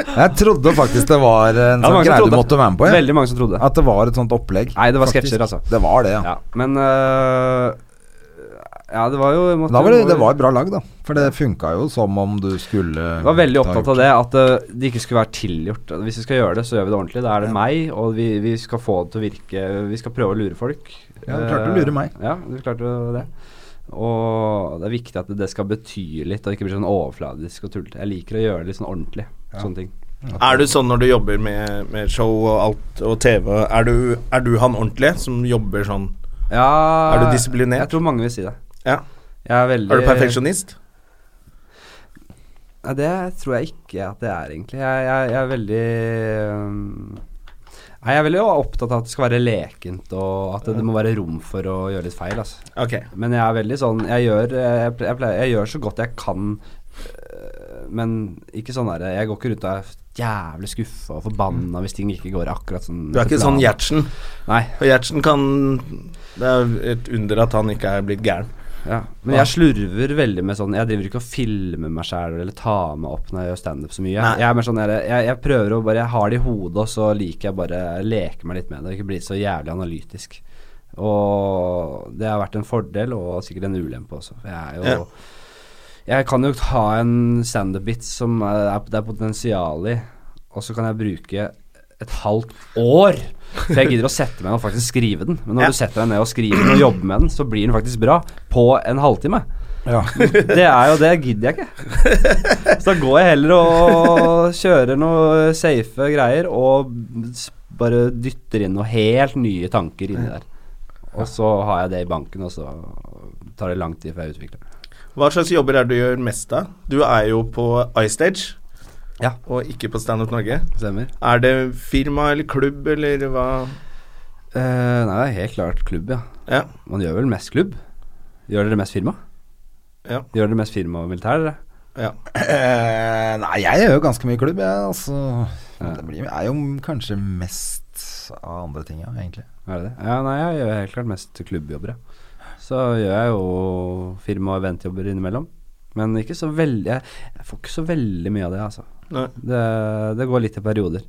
A: Jeg trodde faktisk det var en
C: Ja,
A: sånn
C: mange som
A: greie du
C: trodde.
A: måtte være med på. Ja.
C: Veldig mange som trodde.
A: At det var et sånt opplegg.
C: Nei, det var
A: faktisk.
C: sketsjer, altså.
A: Det var det, ja.
C: Ja, men øh, Ja, det var jo jeg måtte-
A: Da var det, det var bra lag, da. For det funka jo som om du skulle
C: Jeg var veldig opptatt av det, at øh, det ikke skulle være tilgjort. Altså, Hvis vi skal gjøre det, så gjør vi det ordentlig. Da er det meg, og vi, vi skal få det til å virke Vi skal prøve å lure folk.
A: Ja, du klarte å
C: Eh,
A: lure meg.
C: Ja, du klarte jo det. Og det er viktig at det skal bety litt, og ikke bli sånn overfladisk og tullete. Jeg liker å gjøre det litt sånn ordentlig. Sånne ting.
B: Er du sånn når du jobber med, med show og alt og TV, er du, er du han ordentlige som jobber sånn?
C: Ja,
B: Er du disiplinert?
C: Jeg tror mange vil si det.
B: Ja.
C: Jeg er veldig
B: Er du perfeksjonist?
C: Nei, det tror jeg ikke at det er, egentlig. Jeg, jeg, jeg er veldig øhm, Nei, jeg er veldig opptatt av at det skal være lekent, og at det, det må være rom for å gjøre litt feil. Altså.
B: Ok.
C: Men jeg er veldig sånn Jeg gjør, jeg, eh, jeg pleier, jeg gjør så godt jeg kan, øh, men ikke sånn derre Jeg går ikke rundt og er jævlig skuffa og forbanna hvis ting ikke går akkurat sånn
B: Du er ikke
C: etter
B: sånn
C: planen.
B: Gjertsen.
C: Nei.
B: Og Gjertsen kan Det er et under at han ikke er blitt gæren.
C: Ja. Men jeg slurver veldig med sånn Jeg driver ikke og filmer meg sjæl eller tar meg opp når jeg gjør standup så mye.
B: Nei.
C: Jeg er mer sånn jeg, jeg, jeg prøver å bare Jeg har det i hodet, og så liker jeg bare å leke meg litt med det. og Ikke bli så jævlig analytisk. Og det har vært en fordel og sikkert en ulempe også. for Jeg er jo
B: Ja.
C: Jeg kan jo ha en standup-bit som er, det er potensial i, og så kan jeg bruke et halvt år. For jeg gidder å sette meg ned og faktisk skrive den. Men når
B: Ja.
C: du setter deg ned og skriver den og jobber med den, så blir den faktisk bra på en halvtime.
A: Ja.
C: Det er jo det gidder jeg ikke. Så da går jeg heller og kjører noe safe greier og s- bare dytter inn noen helt nye tanker inni der. Og så har jeg det i banken, og så tar det lang tid før jeg utvikler det.
B: Hva slags jobber er det du gjør mest av? Du er jo på iStage.
C: Ja.
B: Og ikke på Standup Norge.
C: Stemmer.
B: Er det firma eller klubb eller hva?
C: Eh, nei, det er helt klart klubb, ja.
B: Ja.
C: Man gjør vel mest klubb? Gjør dere mest firma?
B: Ja.
C: Gjør dere mest firma og militær, dere?
B: ja.
A: Eh, nei, jeg gjør jo ganske mye klubb, jeg. Altså, Men det blir, er jo kanskje mest av andre ting, ja, egentlig.
C: Er det det? Ja, nei, jeg gjør helt klart mest klubbjobber, ja. Så gjør jeg jo firma- og eventjobber innimellom. Men ikke så veldig Jeg jeg får ikke så veldig mye av det, altså.
B: Nei.
C: Det, det går litt i perioder.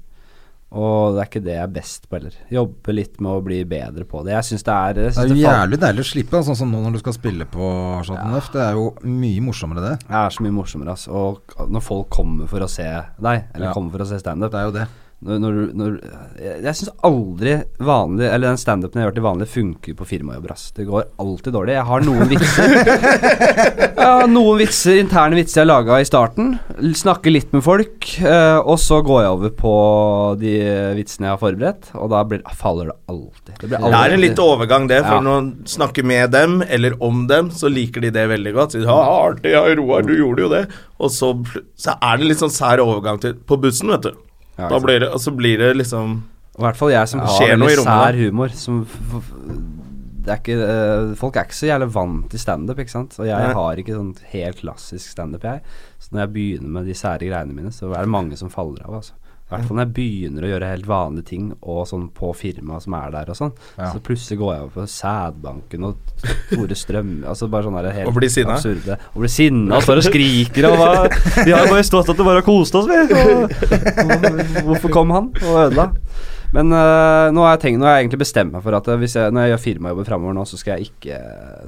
C: Og det er ikke det jeg er best på heller. Jobbe litt med å bli bedre på det. Jeg syns det er jeg
A: Det
C: synes
A: er jo
C: det faller-
A: jævlig deilig å slippe, da, sånn som nå når du skal spille på Chateau Neuf. Det er jo mye morsommere, det.
C: Det er så mye morsommere, altså. Og når folk kommer for å se deg, eller
A: Ja.
C: kommer for å se standup
A: Det er jo det.
C: når, når, du- når, Jeg, jeg syns aldri vanlig Eller den standupen jeg har hørt til vanlig, funker på firmajobber. ass. Det går alltid dårlig. Jeg har noen vitser. Jeg har noen vitser, interne vitser jeg laga i starten. L- Snakker litt med folk. eh, og så går jeg over på de vitsene jeg har forberedt, og da blir, faller det alltid. Det, blir
B: Det er en litt overgang, det. For
C: Ja.
B: når man snakker med dem, eller om dem, så liker de det veldig godt. Sier, ja, artig, ja, Roar, du gjorde jo det. Og så, pl- så er det litt sånn sær overgang til På bussen, vet du.
C: Ja,
B: da
C: ikke
B: blir det, og så blir det liksom
C: I hvert fall jeg som
B: Ja.
C: har
B: Skjer noe i
C: veldig
B: rommet, da.
C: sær humor. Som f f det er ikke, eh, folk er ikke så jævlig vant til standup, ikke sant. Og jeg
B: Nei.
C: har ikke sånn helt klassisk standup, jeg. Så når jeg begynner med de sære greiene mine, så er det mange som faller av, altså. I hvert fall når jeg begynner å gjøre helt vanlige ting og sånn på firmaet som er der og sånn.
A: Ja.
C: Så plutselig går jeg over på Sædbanken og Tore Strøm Altså bare sånn der helt
B: Og blir sinna.
C: absurde. Og blir sinna og står og skriker og hva Vi har bare stått at det bare har kost oss, vi. Og, og, hvorfor kom han og ødela? Men øh, nå, har jeg tenkt, nå har jeg egentlig bestemt meg for at øh, hvis jeg, når jeg gjør firmajobber framover nå, så skal jeg ikke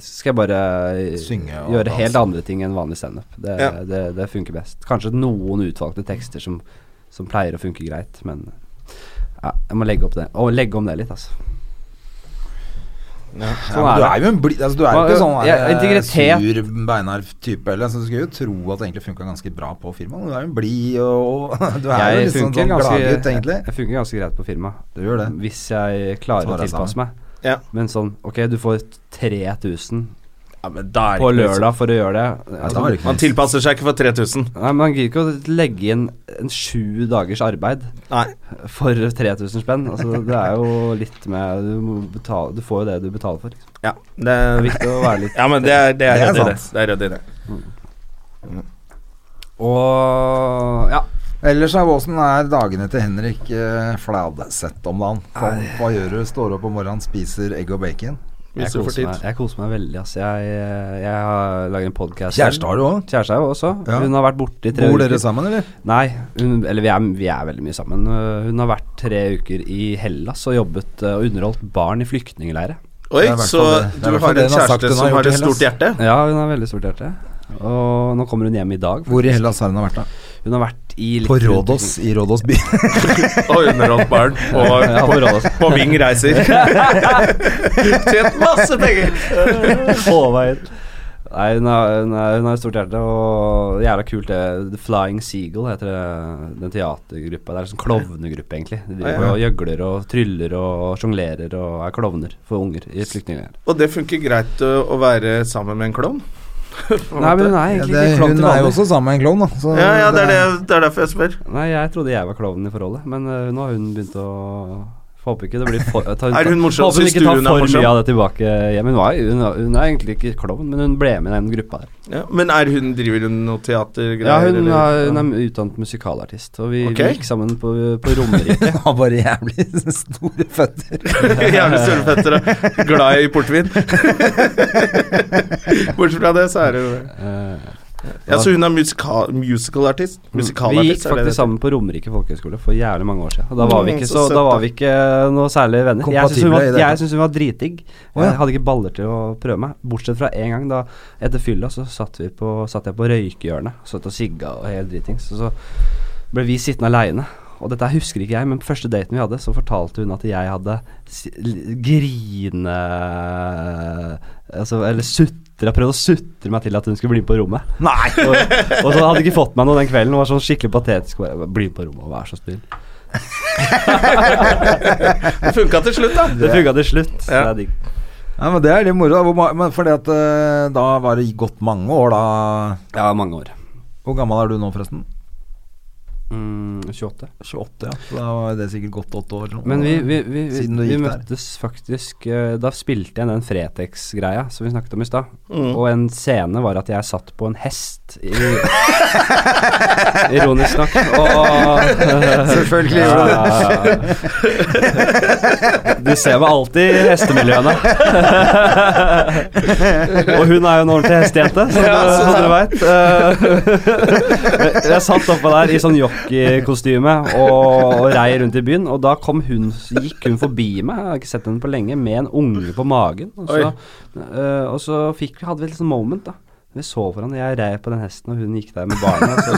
C: Så skal jeg bare øh,
A: Synge og
C: gjøre
A: danse.
C: helt andre ting enn vanlig standup. Det,
B: Ja.
C: det, det funker best. Kanskje noen utvalgte tekster som, som pleier å funke greit, men ja, jeg må legge opp det. Og legge om det litt, altså. Sånn
A: Ja, men
C: er
A: du
C: det.
A: er jo en bli, altså, du er jo
C: Hva-
A: ikke sånn
C: ja,
A: eh,
C: integritet.
A: sur, beinar type. Eller, altså, du skulle jo tro at det egentlig funka ganske bra på firmaet. Du er jo en blid og Du er jo litt sånn,
C: funker
A: sånn
C: ganske-
A: gladgutt, egentlig.
C: Jeg funker ganske greit på firma.
A: Du gjør det.
C: Hvis jeg klarer
A: Tar
C: å
A: deg
C: tilpasse meg.
B: Ja.
C: Men sånn, ok, du får 3000
B: ja men da er det
C: på
B: ikke noe-
C: lørdag for å gjøre det.
A: Ja, sånn? da var det ikke
B: Man
A: noe.
B: tilpasser seg ikke for 3000.
C: Nei, Man gidder ikke å legge inn en sju dagers arbeid
B: Nei.
C: for 3000 spenn. Altså, det er jo litt med Du, må betale, du får jo det du betaler for. Liksom.
B: Ja, det
C: Det
B: er
C: er viktig å være litt
B: Ja, men det er, det er,
A: Det er
B: rødt i det.
A: sant.
B: Det er rødt i det.
C: Og ja.
A: Ellers er åssen er dagene til Henrik eh, Fladseth om dagen? Hva, hva gjør du? Står opp om morgenen, spiser egg og bacon?
B: Hvis
C: Jeg
B: du får
C: koser,
B: tid.
C: meg, jeg koser meg veldig. Altså. Jeg, eh, jeg har lager en podkast.
A: Kjæreste har du òg?
C: Kjæreste er jo også.
A: Ja.
C: Hun har vært borte i tre
A: Bor
C: uker.
A: dere sammen, eller?
C: Nei, hun, eller vi er, vi er veldig mye sammen. Øh, Hun har vært tre uker i Hellas og jobbet øh, og underholdt barn i flyktningleire.
B: Oi,
A: Det er i hvert
B: så
A: fall det- det er i
B: du
A: hvert fall
B: har
A: det
B: en
A: hun har sagt
B: kjæreste
A: hun har
B: som
A: gjort
B: har
A: i
B: et
A: Hellas.
B: stort hjerte?
C: Ja, hun har veldig stort hjerte. Og nå kommer hun hjem i dag.
A: Hvor i Hellas har hun vært, da?
C: Hun har vært i litt
A: På
C: rundt
A: Rådås, i Rådås by.
B: Og underholdt barn.
C: Ja,
B: Og
C: på Rådås.
B: på Ving reiser. Tjent masse penger!
C: omkring. På vei ut. Nei, hun har, hun, har, hun har et stort hjerte, og jævla kult det. The Flying Seagull heter det, den teatergruppa. Det er en sånn klovnegruppe, egentlig. De driver og gjøgler og tryller og sjonglerer og er klovner for unger i flyktningleir.
B: Og det funker greit ø, å være sammen med en klovn? På en
C: Nei,
B: måte.
C: men hun er
A: Ja,
C: egentlig
A: det,
C: ikke klovn
A: hun
C: til
A: er jo
C: vanlig.
A: også sammen med en klovn, da. Så
B: Ja, ja, det er, det, det er derfor jeg spør.
C: eh, Nei, jeg trodde jeg var klovnen i forholdet, men øh, nå har hun begynt å Håper ikke det blir for, ta,
B: Er hun morsom?
C: Håper hun
B: Syns
C: ikke
B: du
C: tar
B: hun er
C: for
B: morsom?
C: mye av det tilbake hjem. Hun, var, hun, var- hun er egentlig ikke klovn, men hun ble med i den gruppa der.
B: Ja, men er hun, driver hun noe teatergreier?
C: Ja, hun,
B: eller?
C: er, hun er utdannet musikalartist, og vi,
B: Ok.
C: vi gikk sammen på, på Romerike.
A: Han har bare jævlig store føtter.
B: Jævlig store føtter og glad i portvin. Bortsett fra det, så er det jo
C: Eh,
B: Ja, så hun er musika musicalartist? Musikalartist,
C: vi gikk
B: er det det
C: faktisk sammen på Romerike folkehøgskole for jævlig mange år siden. Og da var vi
B: Mm,
C: ikke,
B: så
C: så,
B: søtt,
C: da
B: da.
C: var vi ikke noe særlig venner. Jeg syns hun,
A: Kompatible i
C: var-
A: det hele
C: jeg synes hun var dritdigg.
A: Å, ja.
C: Jeg hadde ikke baller til å prøve meg. Bortsett fra en gang da etter fylla så satt, vi på, satt jeg på røykehjørnet. Satt og sigga og helt dritings. Og så ble vi sittende aleine. Og dette her husker ikke jeg, men på første daten vi hadde, så fortalte hun at jeg hadde si- l- grine... Altså, eller sutra, prøvd å sutre meg til at hun skulle bli med på rommet. Nei! Og, og så hadde hun ikke fått meg noe den kvelden, og var sånn skikkelig patetisk. Bare, bli med på rommet, vær så snill.
B: Det funka til slutt, da.
C: Det funka til slutt. så
B: Ja.
C: Det er digg.
A: Ja, men Det er litt moro. da. Hvor ma- Men fordi at eh, da var det gått mange år, da.
C: Ja, mange år.
A: Hvor gammel er du nå, forresten?
C: Mm, 28.
A: 28, ja. Så da var det sikkert gått åtte år. eller noe.
C: Men vi, vi, vi, vi,
A: Siden du
C: vi
A: gikk der.
C: møttes faktisk eh, Da spilte jeg den Fretex-greia som vi snakket om i stad.
A: Mm.
C: Og en scene var at jeg satt på en hest. I, ironisk nok. Og,
A: Selvfølgelig gjorde du det.
C: Du ser meg alltid i hestemiljøene. og hun er jo en ordentlig hestejente, som, du- Eh, som dere veit. jeg satt oppå der i sånn jockeykostyme og, og rei rundt i byen, og da kom hun, gikk hun forbi meg, jeg har ikke sett henne på lenge, med en unge på magen. Og så, eh, og så fikk, vi- hadde vi et sånt moment, da. Vi så hverandre, jeg rei på den hesten, og hun gikk der med barna. Så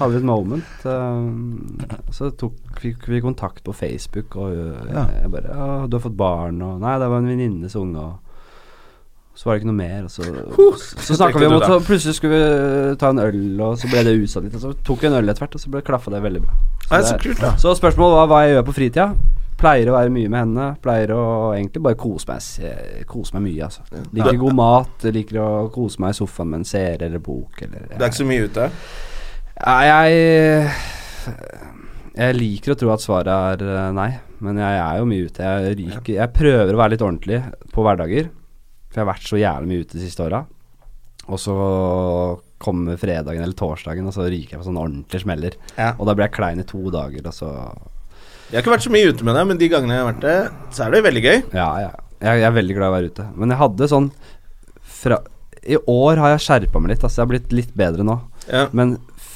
C: hadde vi et moment. eh, så tok, fikk vi kontakt på Facebook, og eh,
A: Ja.
C: jeg bare «Ja, 'Du har fått barn', og 'Nei, det var en venninnes unge', og så var det ikke noe mer, og så, så snakka vi om
B: tenkte
C: at
B: du da.
C: plutselig skulle vi ta en øl, og så ble det utsatt litt. Og så tok vi en øl etter hvert, og så ble klaffa det veldig bra.
B: Nei, så kult, da.
C: så spørsmålet var hva jeg gjør på fritida. Pleier å være mye med henne. Pleier å egentlig bare kose meg, se- kose meg mye, altså. Liker god mat, liker å kose meg i sofaen med en serie eller bok eller
B: Det er ikke så mye ute.
C: ja, jeg Jeg liker å tro at svaret er eh, nei, men jeg er jo mye ute. Jeg, ryker, jeg prøver å være litt ordentlig på hverdager, for jeg har vært så jævlig mye ute de siste åra. Og så kommer fredagen eller torsdagen, og så ryker jeg på sånne ordentlige smeller.
B: Ja.
C: Og da blir jeg klein i to dager, og så
B: Jeg har ikke vært så mye ute med deg, men de gangene jeg har vært det, så er det veldig gøy.
C: Ja, ja. Jeg, jeg er veldig glad i å være ute. Men jeg hadde sånn fra, I år har jeg skjerpa meg litt. Altså, jeg har blitt litt bedre nå.
B: Ja.
C: Men f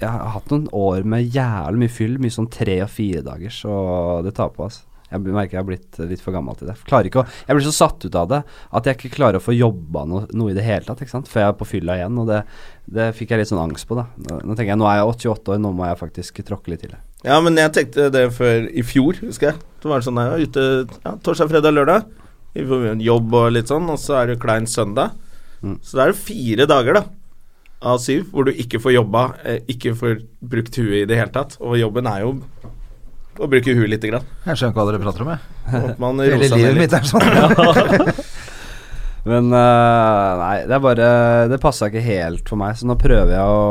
C: jeg har hatt noen år med jævlig mye fyll. Mye sånn tre- og firedagers, og det tar på. Altså. Jeg blir- merker jeg har blitt eh, litt for gammel til det. Klarer ikke å, jeg blir så satt ut av det at jeg ikke klarer å få jobba noe, noe i det hele tatt. Ikke sant? Før jeg er på fylla igjen, og det, det fikk jeg litt sånn angst på. da Nå, nå tenker jeg nå er jeg 88 år, nå må jeg faktisk tråkke litt til. det.
B: Ja, men jeg tenkte det før i fjor, husker jeg. Det var det sånn jeg var ute ja, torsdag, fredag, lørdag. Vi får en Jobb og litt sånn, og så er det klein søndag.
C: Mm.
B: Så da er det fire dager, da, av syv, hvor du ikke får jobba, eh, ikke får brukt huet i det hele tatt. Og jobben er jo å bruke huet lite grann.
A: Jeg skjønner ikke hva dere prater om, jeg.
B: Og man roer
A: Hele
B: seg ned
A: livet
B: litt.
A: mitt er sånn.
C: Men eh, nei, det er bare Det passa ikke helt for meg, så nå prøver jeg å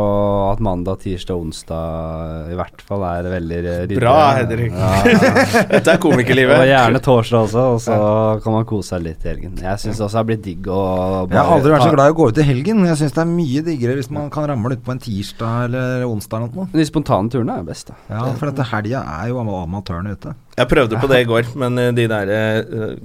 C: At mandag, tirsdag, onsdag i hvert fall er veldig ryddig.
B: Bra, Henrik. Dette er
C: Og
B: komikerlivet.
C: gjerne torsdag også, og så kan man kose seg litt i helgen. Jeg syns også det blir digg å
A: Jeg har aldri vært så glad i å gå ut i helgen. Jeg syns det er mye diggere hvis man kan ramle ut på en tirsdag eller onsdag eller noe.
C: De spontane turene er best, da.
A: Ja, for dette helga er jo amatørene ute.
B: Jeg prøvde på det i går, men eh, de der eh,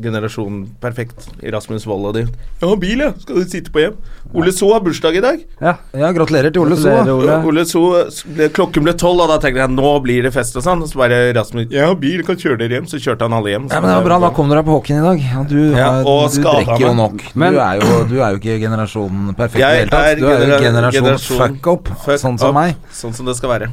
B: generasjon perfekt, Rasmus Wold og de Jeg har bil, jeg! Skal du sitte på hjem? Ole So har bursdag i dag.
C: Ja.
A: Ja, gratulerer til Ole
C: Gratulerer,
A: So.
C: Ole.
B: Ole so, ble, klokken ble tolv, og da tenkte jeg nå blir det fest og sånn. Og så bare Rasmus Jeg har bil, kan kjøre dere hjem. Så kjørte han alle hjem.
A: Ja, men det var bra, da kom dere på hockeyen i dag. Ja, du,
B: Ja,
A: har-
B: og
A: du
B: skada
A: drikker jo
B: meg.
A: nok.
C: Men-
A: du, er jo, du er jo ikke generasjonen perfekt i det
B: Jeg
A: hele tatt.
B: er
A: Du er jo
B: genera-
A: generasjon,
B: generasjon
A: fuck up,
B: Fuck
A: sånn som
B: up.
A: meg.
B: Sånn som det skal være.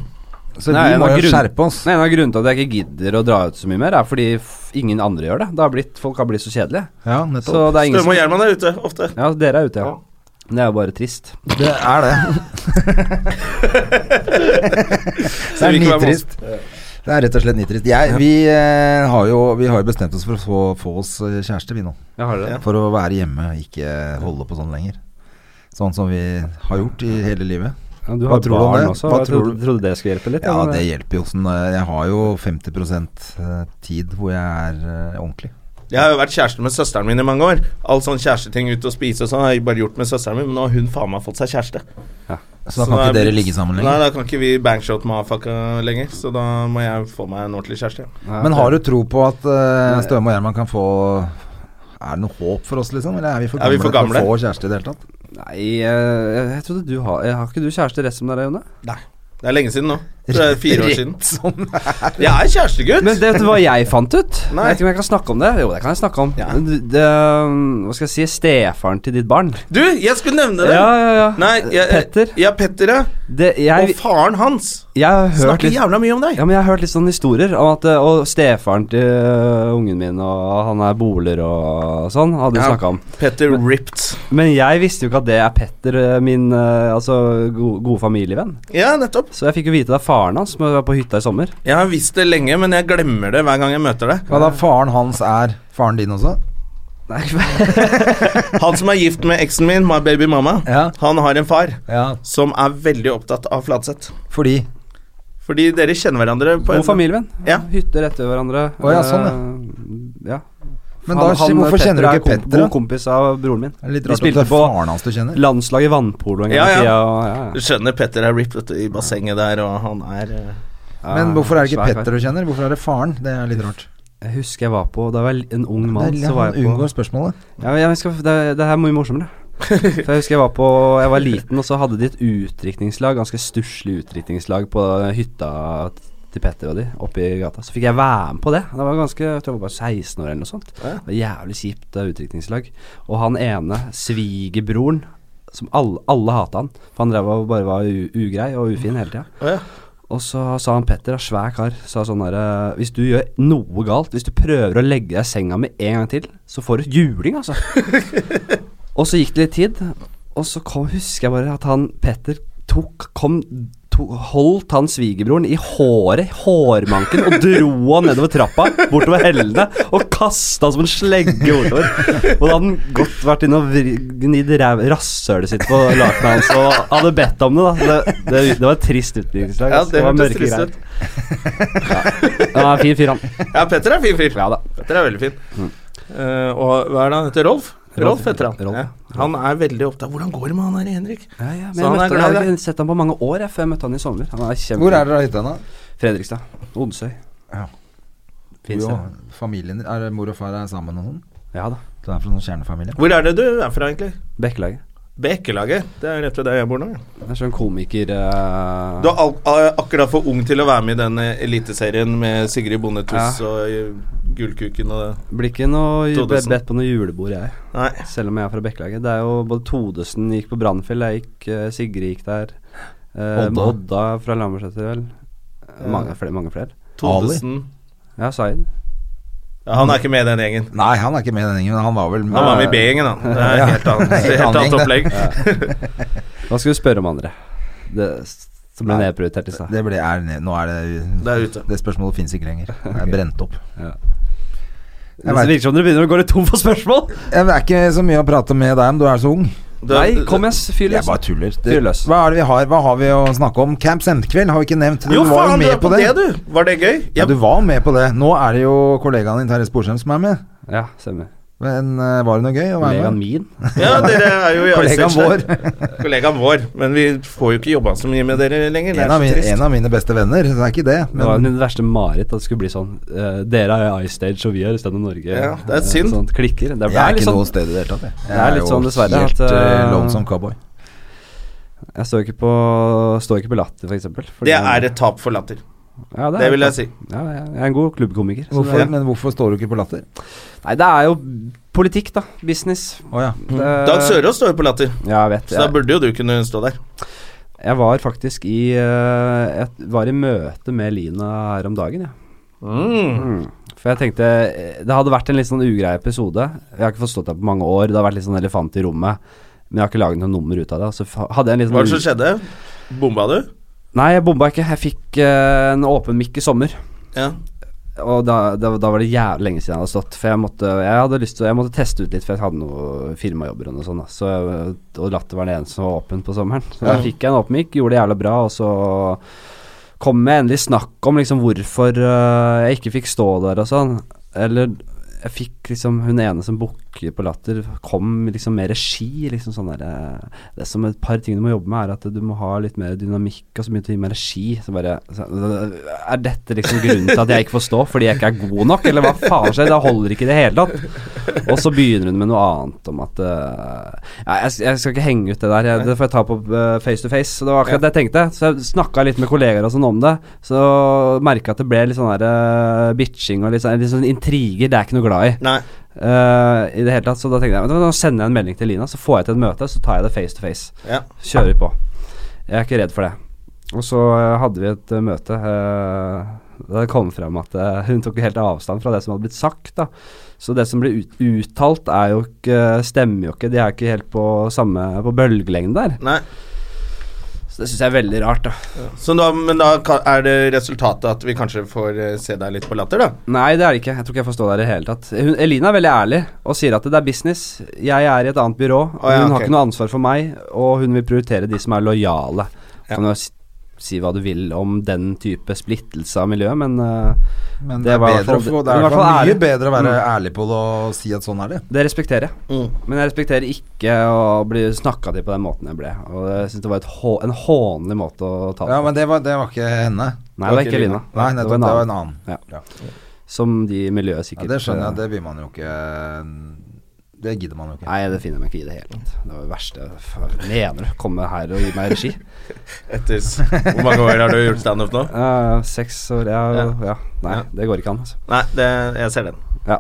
A: Så
C: Nei,
A: vi
C: en
A: må
C: av
A: jo
C: grunn-
A: skjerpe oss.
C: Nei, en av grunnene til at jeg ikke gidder å dra ut så mye mer, er fordi f- ingen andre gjør det. Det har blitt, folk har blitt så kjedelige.
A: Ja, nettopp.
C: Så det er ingen
B: Støme
C: som
B: og Gjerman er ute ofte.
C: Ja, dere er ute, ja. Men Det er jo bare trist.
A: Det er det.
B: Så
A: det
B: vi
A: er
B: kan være med oss.
A: nitrist. Det er rett og slett nitrist. Jeg, vi, eh, har jo, vi har jo bestemt oss for å få, få oss eh, kjæreste, vi nå.
C: Jeg har
B: Ja.
C: det.
A: For å være hjemme, ikke holde på sånn lenger. Sånn som vi har gjort i hele livet.
C: Ja, du
A: Hva
C: har
A: tror du om
C: barn
A: det?
C: også.
A: Hva
C: jeg
A: tror
C: trodde, trodde det skulle hjelpe litt.
A: Ja,
C: men-
A: det hjelper jo sånn. eh, Jeg har jo 50 tid hvor jeg er eh, ordentlig.
B: Jeg har jo vært kjæreste med søsteren min i mange år. All sånn kjæresteting ute og spise og sånn har jeg bare gjort med søsteren min, men nå har hun faen meg fått seg kjæreste.
A: Så da kan ikke
B: er
A: dere
B: blitt-
A: ligge sammen
B: Nei,
A: lenger.
B: da kan ikke vi bangshot mafaka lenger, så da må jeg få meg en ordentlig kjæreste.
C: Ja,
A: Men
C: det-
A: har du tro på at uh, Støme og Gjerman kan få Er det noe håp for oss, liksom? Eller er vi for
B: Er
A: gamle,
B: vi for gamle?
A: til å få kjæreste i det hele tatt?
C: Nei, eh, jeg, jeg trodde du har eh, Har ikke du kjæreste rett som det er, Jone?
B: Det er lenge siden nå. Det er fire år siden.
A: Rett som det er.
B: Jeg er kjærestegutt!
C: Men det, vet du hva jeg fant ut?
B: Nei.
C: Jeg vet ikke om jeg kan snakke om det. Jo, det kan jeg snakke om.
B: Ja.
C: Men du- Det, um, hva skal jeg si? Stefaren til ditt barn.
B: Du, jeg skulle nevne det!
C: Ja, ja, ja.
B: Nei, jeg,
C: Petter.
B: Ja, Petter, ja.
C: Det, jeg,
B: Og faren hans
C: jeg har hørt
B: snakker
C: litt
B: jævla mye om deg.
C: ja, men jeg har hørt litt sånne historier om at eh, Og stefaren til eh, ungen min, og han er boler og sånn, hadde du
B: Ja.
C: snakka om.
B: Petter Ripped.
C: Men jeg visste jo ikke at det er Petter, eh, min eh, altså go gode familievenn.
B: Ja, nettopp.
C: Så jeg fikk jo vite det av faren hans som var på hytta i sommer.
B: Jeg har visst det lenge, men jeg glemmer det hver gang jeg møter deg.
A: Hva da, faren hans er faren din også?
C: Nei,
B: Han som er gift med eksen min, my baby mama,
A: Ja.
B: han har en far
A: Ja.
B: som er veldig opptatt av Flatseth.
A: Fordi
B: Fordi dere kjenner hverandre på
C: God familievenn.
B: Ja.
C: Hytter rett ved hverandre. Eh,
A: Å ja, sånn,
C: ja.
A: Men da, hvorfor kjenner du ikke
C: er
A: Petter,
C: Kom,
A: da?
C: god kompis av broren min.
A: Det er Litt
C: Vi
A: rart at det
C: spilte
A: er
C: på
A: faren hans du kjenner.
C: landslaget i vannpolo en gang
B: Ja, ja.
C: i tida. og- Ja, ja.
B: Du skjønner Petter er ripped vet du, i bassenget der, og han er eh,
C: Ja,
A: Men hvorfor er det ikke
C: svær kar.
A: Petter du kjenner? Hvorfor er det faren? Det er litt rart.
C: Jeg husker jeg var på Da jeg var en ung mann,
A: det
C: så
A: er,
C: var
A: han
C: jeg på
A: unngår spørsmålet.
C: ja, men jeg skal, det, det her er mye morsommere. For Jeg husker jeg var på Jeg var liten, og så hadde de et utdrikningslag, ganske stusslig utdrikningslag, på hytta til Petter og de oppe i gata. Så fikk jeg være med på det. Det var ganske, jeg tror jeg var bare 16 år eller noe sånt. Det var jævlig kjipt eh, utdrikningslag. Og han ene, svigerbroren, som alle, alle hata han, for han drev og bare var u ugrei og ufin hele tida.
B: Å ja.
C: Og så sa han Petter, da, svær kar, sa sånn derre Hvis du gjør noe galt, hvis du prøver å legge deg i senga med en gang til, så får du juling, altså. og så gikk det litt tid, og så kom, husker jeg bare at han Petter tok Kom to, Holdt han svigerbroren i håret, hårmanken, og dro han nedover trappa, bortover hellene, og kasta han som en slegge bortover. Og da hadde han godt vært inne og vri- gnidd ræv- rasshølet sitt på lakenet hans og hadde bedt om det, da. Det, det, det var et trist utviklingslag.
B: Ja,
C: ass.
B: det
C: var
B: hørtes
C: mørke
B: trist
C: greier.
B: ut.
C: Ja, han er fin fyr, han.
B: Ja, Petter er fin fyr.
C: Ja da.
B: Petter er veldig fin. Eh, og hva er det han heter? Rolf? Rolf
C: Rolf
B: heter han.
C: Rolf.
B: Ja. Han er veldig opptatt Hvordan går det med han her, Henrik?
C: Ja, ja,
B: Så
C: men jeg,
B: han er
C: møtte, jeg
B: glad i
C: hadde
B: deg.
C: ikke sett ham på mange år jeg, før jeg møtte han i sommer. Han er kjempe
A: Hvor er dere av hytta, da?
C: Fredrikstad. Odensøy.
A: Ja.
C: Fins
A: Jo,
C: det?
A: familien Er det mor og far er sammen og sånn?
C: Ja da.
A: Du er fra noen kjernefamilie?
B: Hvor er det du er fra, egentlig?
C: Bekkelaget.
B: Bekelaget. Det er rett ved der jeg bor nå. ja.
C: Det er sånn komiker eh,
B: Du er al a- akkurat for ung til å være med i den eh, eliteserien med Sigrid Bonde Tuss og eh, Gullkuken og det.
C: Blir ikke noe ju- be-
B: Todesen.
C: bedt på noe julebord, jeg.
B: Nei.
C: Selv om jeg er fra Bekkelaget. Det er jo både Todesen gikk på Brannfjell, jeg gikk eh, Sigrid gikk der. Eh,
A: Odda.
C: Odda fra Lambertseter, vel. Mange flere. Mange flere.
B: Todesen.
C: Ja, Zaid.
B: Ja, han er ikke med i den gjengen.
A: Nei, han er ikke med i den gjengen. men Han var vel
B: Han var med i B-gjengen, han. Det er
A: Ja.
B: helt annet,
A: Helt
B: helt
A: annen
B: annet
A: gjeng,
B: opplegg.
C: Hva skal du spørre om andre? Det s- som ble
A: Nei.
C: nedprioritert i stad.
A: Det ble, er, nå er det,
B: Det er ute.
A: Det spørsmålet fins ikke lenger. Det er brent opp.
C: Det
A: vet-
C: virker som dere begynner å gå litt tom for spørsmål.
A: Ja, men Det er ikke så mye å prate med deg om, du er så ung.
B: Det-
C: Nei, kom igjen, s- fyr
A: Jeg
C: løs.
A: bare tuller. Det,
C: Fyr løs.
A: hva er det vi har Hva har vi å snakke om? Camp Sendekveld har vi ikke nevnt. Du
B: Jo,
A: var jo
B: faen, du
A: med
B: er på det, du! Var det gøy?
A: Ja,
B: Jeg-
A: du var med på det. Nå er det jo kollegaen din Terje Sporsem som er med.
C: Ja, stemmer.
A: Men eh, var det noe gøy å være
C: Kollegaen
A: med?
C: min?
B: Ja, dere er jo i
A: Kollegaen
B: Ice Age der. Kollegaen vår. Men vi får jo ikke jobba så mye med dere lenger. Det
A: En
B: er
A: av,
B: så
A: mine,
B: trist.
A: en av mine beste venner, så det er ikke det.
C: Det var
A: Men
C: min verste mareritt at det skulle bli sånn. eh, dere er Ice Stage, og vi er Stedet Norge.
B: Ja, det er
C: Eh,
B: synd.
C: Sånt klikker. Det
A: jeg er
C: litt
A: ikke
C: sånn-
A: noe sted i det hele tatt, jeg.
C: Det er litt sånn dessverre
A: helt
C: at,
A: eh,
C: eh,
A: lonesome cowboy.
C: Jeg står ikke på, står ikke på latter, for eksempel. fordi-
B: Det er et tap for latter.
C: ja, er
B: det vil jeg
C: et-
B: si.
C: Ja, jeg jeg er en god klubbkomiker. så
A: Hvorfor,
C: det-
A: men hvorfor står du ikke på Latter?
C: Nei, det er jo politikk, da. Business.
A: Å ja.
C: Det-
A: Eh,
B: Dag Sørås står jo på latter,
C: Ja, jeg vet.
B: så da
C: Jeg,
B: burde jo du kunne stå der.
C: jeg var faktisk i eh, Jeg var i møte med Lina her om dagen, jeg.
B: Mm.
C: Mm. For jeg tenkte eh, Det hadde vært en litt sånn ugrei episode. Jeg har ikke forstått det på mange år. Det har vært litt sånn elefant i rommet. Men jeg har ikke laget noe nummer ut av det. Så fa- hadde jeg en litt sånn
B: Hva er det
C: u-
B: som skjedde? Bomba du?
C: Nei, jeg bomba ikke. Jeg fikk eh, en åpen mikk i sommer.
B: Ja.
C: Og da, da, da var det jævlig lenge siden jeg hadde stått. For jeg måtte, jeg hadde lyst til, jeg måtte teste ut litt, for jeg hadde noen firmajobber og noe sånt. da. Så, jeg- og Latter var den eneste som var åpen på sommeren. Så da fikk jeg en åpen mic, gjorde det jævla bra, og så kom jeg endelig snakk om liksom hvorfor øh, jeg ikke fikk stå der og sånn. Eller jeg fikk liksom hun ene som booker på Latter, kom liksom med regi. liksom sånn der, øh, Det som et par ting du må jobbe med, er at du må ha litt mer dynamikk og så mye ting med regi. Så bare så, øh, Er dette liksom grunnen til at jeg ikke får stå fordi jeg ikke er god nok, eller hva faen skjer? Det holder ikke i det hele tatt. Og så begynner hun med noe annet om at øh, ja, jeg, jeg skal ikke henge ut det der, jeg, det får jeg ta på øh, face to face. Så det var akkurat det jeg tenkte. Så jeg snakka litt med kollegaer og sånn om det. Så merka at det ble litt sånn der øh, bitching og litt sånn, litt sånn intriger. Det er jeg ikke noe glad i.
D: Nei.
C: øh, I det hele tatt. Så da tenkte jeg men da sender jeg en melding til Lina, så får jeg til et møte, så tar jeg det face to face.
D: Ja.
C: Kjører på. Jeg er ikke redd for det. Og så øh, hadde vi et øh, møte. øh, da det kom fram at øh, hun tok helt avstand fra det som hadde blitt sagt. da så det som blir ut, uttalt, er jo ikke, stemmer jo ikke. De er ikke helt på samme på bølgelengde der.
D: Nei.
C: Så det syns jeg er veldig rart, da.
D: Så da, men da ka- er det resultatet at vi kanskje får eh, se deg litt på latter, da?
C: Nei, det er det ikke. Jeg tror ikke jeg får stå der i det hele tatt. Hun, Elina er veldig ærlig og sier at det er business. Jeg er i et annet byrå. og
D: Å, ja,
C: hun har
D: ok.
C: ikke noe ansvar for meg, og hun vil prioritere de som er lojale.
D: Ja.
C: Kan jo s- si hva du vil om den type splittelse av miljøet, men øh,
A: Men
C: Det
A: det, er
C: var i hvert
A: bedre å
C: fall-
A: få Det
C: i
A: er i
C: hvert
A: hvert fall
C: fall
A: mye
C: ærlig.
A: bedre å være ærlig på det og si at sånn er det.
C: det respekterer jeg.
D: Mm.
C: Men jeg respekterer ikke å bli snakka til på den måten jeg ble. Og jeg syns det var et hå en hånlig måte å ta det på.
A: Ja, men det var, det var ikke henne.
C: Nei, det var ikke Lina.
A: Nei, nettopp. Det var en annen.
C: Ja.
A: Ja.
C: Som de i miljøet
A: Ja,
C: sikkert
A: det skjønner jeg. Det vil man jo ikke eh, Det gidder man jo ikke.
C: Nei, det finner jeg meg ikke i det hele tatt. Det var det verste. Hva mener du? Komme her og gi meg regi?
B: Etter s- Hvor mange år har du gjort standup nå?
C: Eh, seks år ja, ja.
B: Ja.
C: Nei,
B: Ja.
C: det går ikke an, altså.
B: Nei, det, jeg ser den.
C: Ja.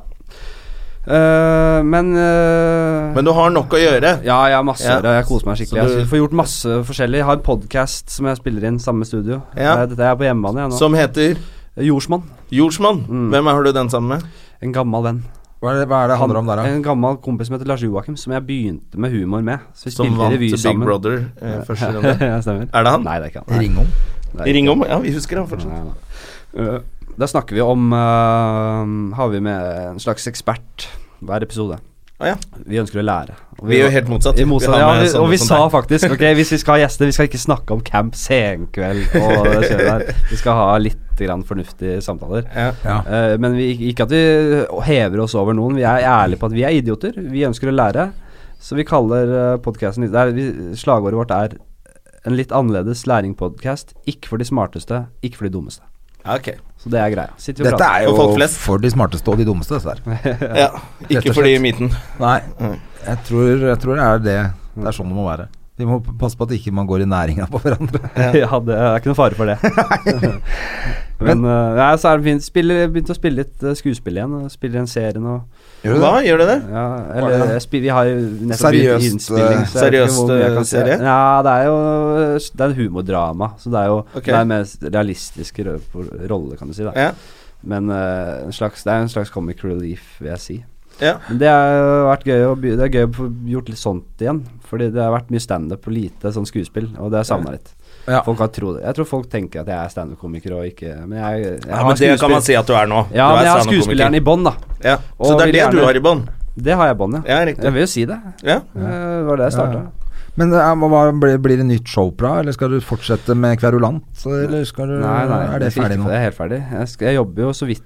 C: Eh, men eh,
D: Men du har nok å gjøre.
C: Ja, jeg har masse
D: Ja.
C: år, og jeg koser meg skikkelig.
D: Så
C: Jeg
D: du-
C: får gjort masse forskjellig. Jeg har en podkast som jeg spiller inn, samme studio.
D: Ja.
C: Eh, Dette er på hjemmebane jeg nå.
D: Som heter
C: Jordsmann.
D: Jordsmann.
C: Mm.
D: Hvem har du den sammen med?
C: En gammel venn.
A: Hva er det, hva er det handler om der, da?
C: En gammel kompis som heter Lars Joakim, som jeg begynte med humor med. Så vi
D: Som
C: spilte
D: vant
C: revy
D: Big
C: sammen.
D: Brother eh, første runde.
C: ja, stemmer.
D: Er det han?
C: Nei, det er ikke han. Nei.
A: Ring om.
C: Det er
D: Ring
C: ikke
D: om? Ja, vi husker han fortsatt.
C: han. Nei, nei. Uh, Da snakker vi om eh, Har vi med en slags ekspert hver episode.
D: Å ja.
C: Vi ønsker å lære. Og
D: Vi er jo helt motsatt.
C: i motsatt,
D: Vi har
C: ja,
D: med
C: vi,
D: sånne
C: og vi
D: som
C: sa
D: deg.
C: faktisk Ok, hvis vi skal ha gjester, vi skal ikke snakke om Camp Senkveld og det skjer der. Vi skal ha litt grann fornuftige samtaler.
D: Ja.
A: Ja.
C: Eh, men vi, ikke at vi hever oss over noen. Vi er ærlige på at vi er idioter. Vi ønsker å lære. Så vi kaller uh, podkasten Slagordet vårt er en litt annerledes læringpodkast. Ikke for de smarteste, ikke for de dummeste.
D: Ja, ok.
C: Så det er greia. Sitter vi og
A: Dette
C: prater.
A: er jo
D: For folk flest.
A: for de smarteste og de dummeste, dessverre.
D: Ja,
A: Rett
D: ikke
A: og
D: for de i
A: slett.
D: midten.
A: Nei,
C: Mm.
A: jeg tror, jeg tror det er det. Det er sånn det må være. Vi må passe på at ikke man går i næringa på hverandre.
C: ja, det er ikke noe fare for det. Men eh, nei, så er det fint. Spiller, begynte å spille litt eh, skuespill igjen. og Spiller en serie nå.
D: Hva, gjør det det?
C: Ja, eller jeg spi- vi har jo nettopp
A: Seriøst,
C: begynt innspilling. så jeg vet ikke
D: seriøst,
C: hvor mye jeg
D: eh,
C: kan si.
D: serie?
C: Ja, det er jo eh, Det er en humordrama. Så det er jo
D: Ok.
C: Det er en mer realistisk ro- rolle, kan du si. da
D: Ja.
C: Men eh, en slags, det er en slags comic relief, vil jeg si.
D: Ja.
C: Men det har vært gøy å, by- det er gøy å få gjort litt sånt igjen. Fordi det har vært mye standup og lite sånn skuespill, og det har jeg savna litt.
A: Ja.
C: Folk har tro, jeg tror folk tenker at jeg er standup-komiker og ikke Men jeg, jeg
D: Ja, men det kan man si at du er nå.
C: Ja,
D: du er
C: men jeg har
D: standup-komiker.
C: skuespilleren i bånn, da.
D: Ja. Så
C: Og
D: det
C: vil
D: er det du
C: gjerne-
D: har i bånd?
C: Det har jeg i bånn, ja.
D: Ja, riktig.
C: Jeg vil jo si det.
D: Ja.
C: Eh, Det var det jeg starta.
A: Men eh, hva blir, blir det nytt show bra, eller skal du fortsette med Kverulant? Eller skal du,
C: Nei, nei,
A: er det
C: jeg fikk
A: ferdig
C: ikke-
A: nå?
C: Jeg er helt ferdig. Jeg, skal, jeg jobber jo så vidt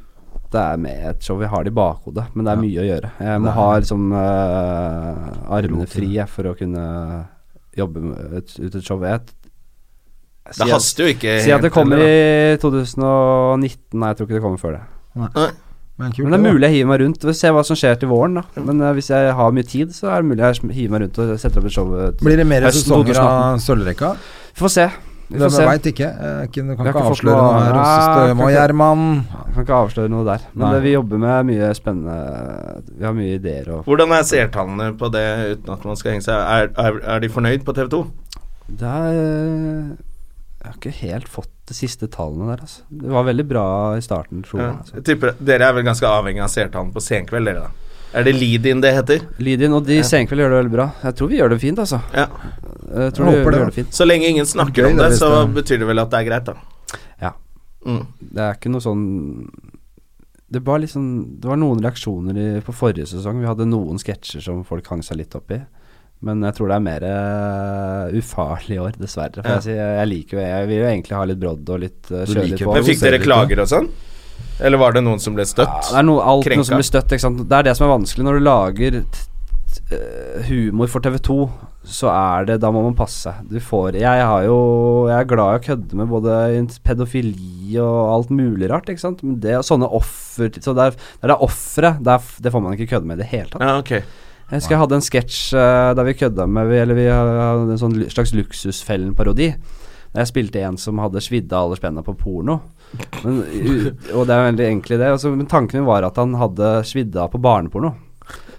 C: det er med et show. Vi har det i bakhodet, men det er mye å gjøre. Jeg må ha liksom øh, armene fri jeg, for å kunne jobbe med et, ut et show. Jeg, si
D: Det
C: at-
D: haster jo ikke.
C: Si at det
D: helt,
C: kommer
D: eller da.
C: i 2019. Nei, jeg tror ikke det kommer før det.
A: Men
C: Men det er mulig jeg hiver meg rundt. Vi får se hva som skjer til våren, da. Men øh, hvis jeg har mye tid, så er det mulig jeg sm- hiver meg rundt og setter opp et show. øh,
A: Blir det mer
C: høsten
A: sesonger
C: 2018.
A: av Sølvrekka?
C: Vi får se. Vi
A: Hvem
C: får se.
A: veit ikke. Jeg kan kan
C: har
A: ikke
C: ikke fått
A: avsløre
C: noe-
A: noe her. Rosse
C: Nei,
A: Støme og
C: kan
A: Gjerman.
C: Jeg kan ikke avsløre noe der. Men
A: Nei.
C: det, vi jobber med mye spennende Vi har mye ideer og
D: Hvordan er seertallene på det uten at man skal henge seg? Er, er, er de fornøyd på TV 2?
C: Det er øh, Jeg har ikke helt fått de siste tallene der, altså. Det var veldig bra i starten, tror jeg.
D: Ja.
C: Altså.
D: Jeg tipper Dere er vel ganske avhengig av seertallene på Senkveld, dere da? Er det lead-in det heter?
C: Lydin og de senkveld gjør det veldig bra. Jeg tror vi gjør det fint, altså.
D: Ja.
C: Jeg tror
A: Jeg
C: vi
A: håper det, da.
C: gjør det fint.
D: Så lenge ingen snakker
A: Gøy,
D: om
A: det,
D: det,
A: hvis
D: så
A: det-
D: betyr det vel at det er greit, da.
C: Ja.
D: Mm.
C: Det er ikke noe sånn det var liksom Det var noen reaksjoner i, på forrige sesong. Vi hadde noen sketsjer som folk hang seg litt opp i. Men jeg tror det er mer eh, ufarlig i år, dessverre. For
B: Ja.
C: jeg, sier- jeg liker jo Jeg vil jo egentlig ha litt brodd og litt uh,
A: Du
C: kjøre
A: liker
C: litt på.
A: Men
B: Men fikk dere
A: Ser ikke.
B: klager og sånn? Eller var det noen som ble
C: Ja,
B: støtt?
C: det er noe, alt
B: Krenka.
C: noe som blir støtt. Ikke sant? Det er det som er vanskelig når du lager t t eh, humor for TV2. Så er det Da må man passe seg. Du får Jeg har jo Jeg er glad i å kødde med både pedofili og alt mulig rart, ikke sant. Men det og sånne offer Så det er det, er det offeret. Det, er f- det får man ikke kødde med i det hele tatt.
B: Ja, ok.
C: Jeg husker jeg hadde en sketsj eh, der vi kødda med vi- Eller vi hadde en sånn lu- slags luksusfellen-parodi. Der jeg spilte en som hadde svidd av alle spenna på porno. Men, u- og det er jo veldig enkelt, det. Og så- men tanken min var at han hadde svidd av på barneporno.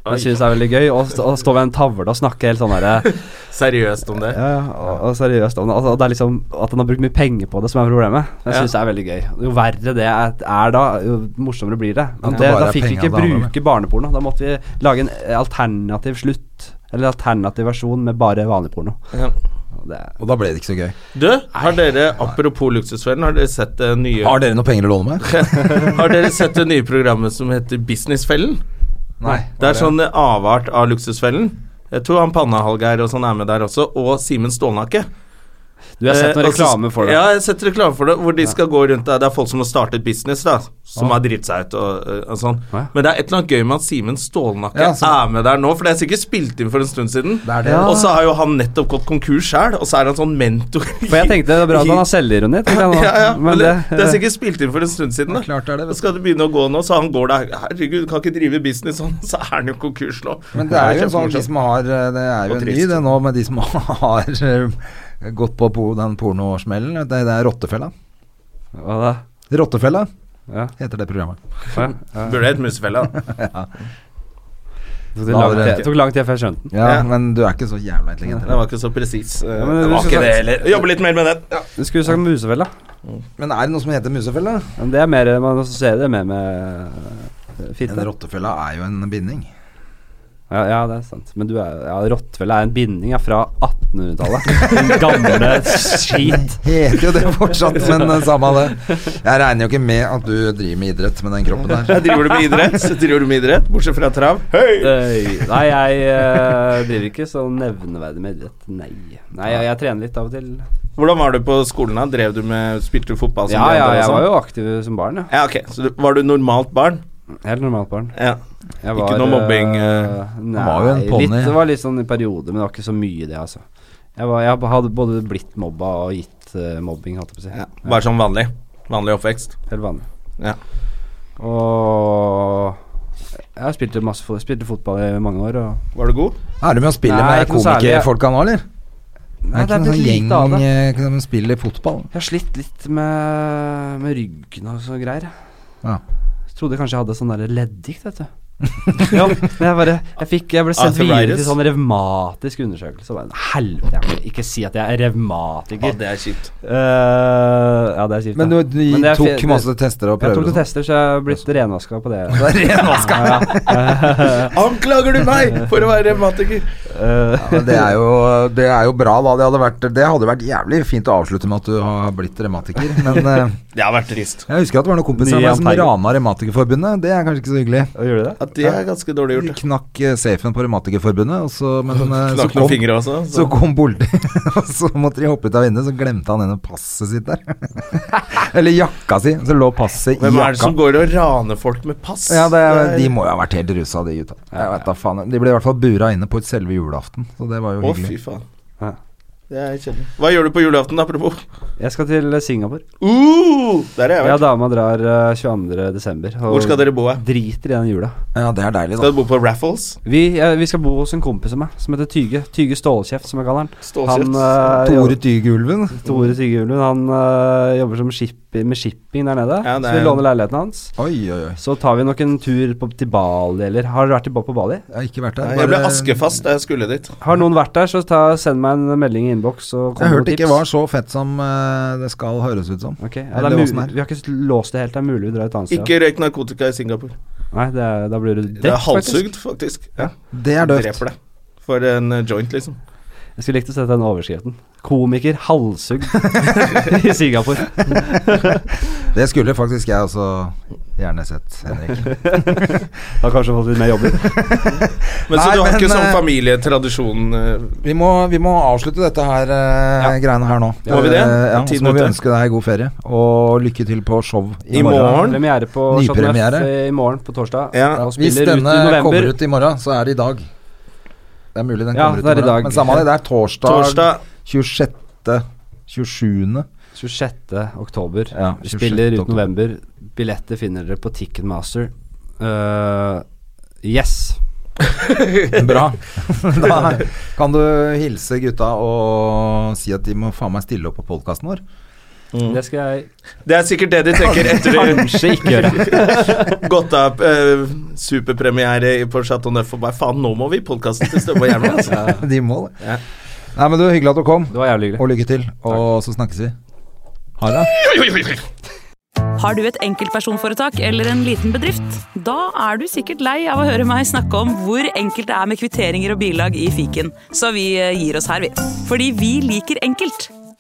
C: Det synes jeg er veldig gøy. Og, st- og stå ved en tavle og snakke helt sånn derre
B: Seriøst om det?
C: ja, ja, og, og seriøst. Og, og det er liksom at han har brukt mye penger på det, som er problemet. Jeg
B: Ja.
C: synes det er veldig gøy. Jo verre det er, er da, jo morsommere blir det.
A: Ja,
C: Men
A: det
C: det,
A: bare
C: da
A: er
C: fikk vi
A: penger
C: ikke
A: det handler om,
C: bruke barneporno. Da måtte vi lage en alternativ slutt. Eller alternativ versjon med bare vanlig porno.
B: Ja.
C: Og Det,
A: Og da ble det ikke så gøy.
B: Du, har dere, apropos Luksusfellen, har dere sett det nye
A: Har dere noen penger å låne meg?
B: Har dere sett det nye programmet som heter Businessfellen?
A: Nei.
B: Det er sånn avart av Luksusfellen. Jeg tror han Pannehalgeir og sånn er med der også, og Simen Stålnakke.
C: du har sett
B: Eh,
C: noen
B: og så-
C: reklame for det.
B: Ja, jeg har sett reklame for det, hvor de skal gå rundt der. Det er folk som har startet business, da, som har dritt seg ut og, eh, og sånn.
C: Ja.
B: Men det er et eller annet gøy med at Simen Stålnakke
A: Ja, som-
B: er med der nå, for det er sikkert spilt inn for en stund siden.
A: Det er det.
B: Og så har jo han nettopp gått konkurs sjøl, og så er han sånn mentor.
C: For jeg tenkte det er bra at han har selvironi. tenkte jeg nå.
B: ja, ja, men
C: Men
B: det,
C: det-
B: det er sikkert spilt inn for en stund siden. Da.
A: Ja, klart er det, vet
B: Da skal det begynne å gå nå, så han går der. Herregud, kan ikke drive business sånn, så er han jo konkurs nå.
A: Men det er jo en sånn de
B: kjempemorsomt.
A: som har eh, Det er jo
B: Og
A: en ny
B: trist.
A: det nå, men de som har eh, gått på po den pornosmellen, det, det er Rottefella.
C: Hva da?
A: Rottefella
C: Ja,
A: heter det programmet.
C: ja,
A: liksom-
C: ja.
B: Burde hett Musefella. da.
C: Det tok lang tid-
A: det-
C: det tok lang tid før jeg skjønte den.
A: Ja,
B: Ja.
A: men du er ikke så jævla intelligent.
B: Den var ikke så presis. eh,
C: men
B: den
C: du
B: var
C: skal
B: ikke det
C: sagt-
B: heller. Jobbe litt mer med den. Ja.
C: Du skulle sagt musefella.
A: Men er det noe som heter musefella?
C: Men det er mer Man assosierer det mer med eh,
A: Den
C: fitte.
A: rottefella er jo en binding.
C: Ja, ja, det er sant. Men du er, ja, rottefelle er en binding ja, fra 1800-tallet. Den gamle skit.
A: Heter jo det fortsatt, men eh, samme av det. Jeg regner jo ikke med at du driver med idrett med den kroppen der.
B: Jeg driver du med idrett? Så Driver du med idrett, bortsett fra trav? Eh, Hei!
C: Øy. Nei, jeg eh, driver ikke så nevneverdig med idrett. Nei. Nei, jeg, jeg trener litt av og til.
B: Hvordan var du på skolen? da? Drev du med Spilte du fotball?
C: Ja,
B: de
C: ja,
B: andre og
C: jeg
B: sånn?
C: var jo aktiv som barn, ja.
B: Ja, ok. Så du, var du normalt barn?
C: Helt normalt barn.
B: Ja.
C: Jeg
B: Ikke noe mobbing, eh,
C: eh,
A: han var jo en
C: nei,
A: pony.
C: litt- Det var litt sånn i perioder, men det var ikke så mye, det, altså. Jeg, var, jeg hadde både blitt mobba og gitt eh, mobbing, holdt jeg på å si.
B: Bare sånn vanlig. Vanlig oppvekst.
C: Helt vanlig.
B: Ja.
C: Og jeg har spilt masse fo spilte fotball i mange år. Og
B: Var du god?
A: Er du med å spille
C: Nei,
A: med
C: ikke noe særlig.
A: komikerfolka nå, eller?
C: Nei,
A: er
C: det
A: ikke
C: er
A: noen
C: blitt
A: sånn
C: lite av
A: gjeng
C: det.
A: eh, som spiller fotball?
C: Jeg har slitt litt med, med ryggen og sånne greier. jeg.
A: Ja.
C: Jeg trodde kanskje jeg hadde sånn derre leddgikt, vet du. ja, men jeg bare Jeg, fikk, jeg ble sendt videre til
B: Arthritis?
C: sånn revmatisk undersøkelse. Og bare, Helvete, jeg må ikke si at jeg er revmatiker.
B: det er kjipt.
C: Eh, ja, det er kjipt.
A: Men
C: da.
A: du, du
C: Men det er
A: tok
C: fe-
A: masse tester og sånn.
C: Jeg
A: prøver?
C: tok noen tester, så jeg har blitt renvaska på det.
A: Renvaska!
C: Ja, ja.
B: Anklager du meg for å være revmatiker?
C: Eh,
A: Ja, men det, er jo, det er jo bra, da. Det hadde, vært, det hadde vært jævlig fint å avslutte med at du har blitt revmatiker. Men eh,
B: Det har vært trist.
A: jeg husker at det var noen kompiser
C: Ny
A: av meg som
C: Anteigen.
A: rana Revmatikerforbundet. Det er kanskje ikke så hyggelig.
C: og gjorde du det?
B: At det er ganske dårlig gjort.
A: Knakk eh, safen på Revmatikerforbundet, og så, men, eh, så,
B: Knakk noen
A: kom,
B: fingre også.
A: så kom politiet, og så måtte de hoppe ut av vinduet. Så glemte han ene passet sitt der. Eller jakka si. Så lå passet i
B: Hvem er det
A: jakka.
B: som går og raner folk med pass?
A: Ja, det, er- de må jo ha vært helt rusa, de gutta. Jeg vet da faen. De ble i hvert fall bura inne på selve julaften, så det var jo
B: Å, fy
A: hyggelig.
B: faen.
C: Ja.
B: Det er kjedelig. Hva gjør du på julaften, apropos?
C: Jeg skal til Singapore.
B: Uh, der har jeg
C: Ja,
B: vært.
C: dama drar eh, 22. desember. og
B: Hvor skal dere bo? eh?
C: Driter i den jula.
A: Ja, det er deilig, da.
B: Skal dere bo på Raffles?
C: Vi, eh, vi skal bo hos en kompis av meg som heter Tyge. Tyge Stålkjeft, som jeg kaller han.
B: Stålkjeft.
C: Han, eh,
A: Tore
C: jobber-
A: Tygulven.
C: Tore Tyge Ulven. Han eh, jobber som shipper, med shipping der nede.
B: Ja, det
C: så
B: er-
C: vi låner leiligheten hans.
A: Oi, oi, oi.
C: Så tar vi nok en tur på, til Bali, eller Har dere vært til, på Bali?
A: Jeg har ikke vært der.
B: Jeg ble
A: bare-
B: askefast da jeg skulle dit.
C: Har noen vært der, så ta, send meg en melding i innboks og kom
A: Jeg
C: med
A: hørte
C: noen
A: ikke
C: tips.
A: var så fett som eh, det skal høres ut som.
C: Ok, ja, det
A: Eller åssen
C: er mulig,
A: det er.
C: Vi har ikke låst det helt. Det er mulig vi drar et annet sted.
B: Ikke røyk narkotika i Singapore.
C: Nei, det er, da blir du
B: Det er
C: drept, faktisk.
B: halshugd, faktisk. Ja,
A: Det er døvt.
B: Dreper deg. For en eh, joint, liksom.
C: Jeg skulle likt å sette den overskriften. Komiker halshugd i Singapore.
A: Det skulle faktisk jeg også gjerne sett, Henrik.
C: Har kanskje fått litt mer jobber.
B: Men så
A: Nei,
B: du har
A: men,
B: ikke sånn
A: eh,
B: familietradisjon eh,
A: Vi må, vi må avslutte dette her eh, greiene her nå.
B: Må vi det?
A: Eh, ja,
B: Tiden
A: så må vi
B: ute.
A: ønske deg god ferie, og lykke til på show i,
B: I morgen.
C: Premiere på Chateau
A: Nypremiere.
C: Neuf i morgen på torsdag.
B: Ja,
C: og
A: Hvis
C: spiller ut i
A: denne
C: november.
A: kommer ut i morgen, så er det i dag. Det er mulig den
C: Ja,
A: kommer ut
C: det er
A: i
C: i
A: morgen.
C: dag.
A: Men samme av det, det er torsdag,
B: torsdag?
A: 26. 27.
C: 26. oktober.
A: Ja,
C: Vi
A: 26.
C: spiller ut
A: oktober.
C: november. Billetter finner dere på Ticketmaster. Eh, yes.
A: Bra. da kan du hilse gutta og si at de må faen meg stille opp på podkasten vår. Mm.
C: Det skal jeg
B: Det er sikkert det de tenker etter de
C: kanskje ikke gjøre.
B: gått av eh, superpremiere i- på Chateau Neuf og bare faen, nå må vi i podkasten til Stømme og Gjermund. Altså.
A: De må det. Nei, men du, hyggelig at du kom,
C: Det var jævlig hyggelig.
A: og lykke til. Og så snakkes vi. Ha det.
E: Har du et enkeltpersonforetak eller en liten bedrift? Da er du sikkert lei av å høre meg snakke om hvor enkelt det er med kvitteringer og bilag i fiken, så vi eh, gir oss her, vi. Fordi vi liker enkelt.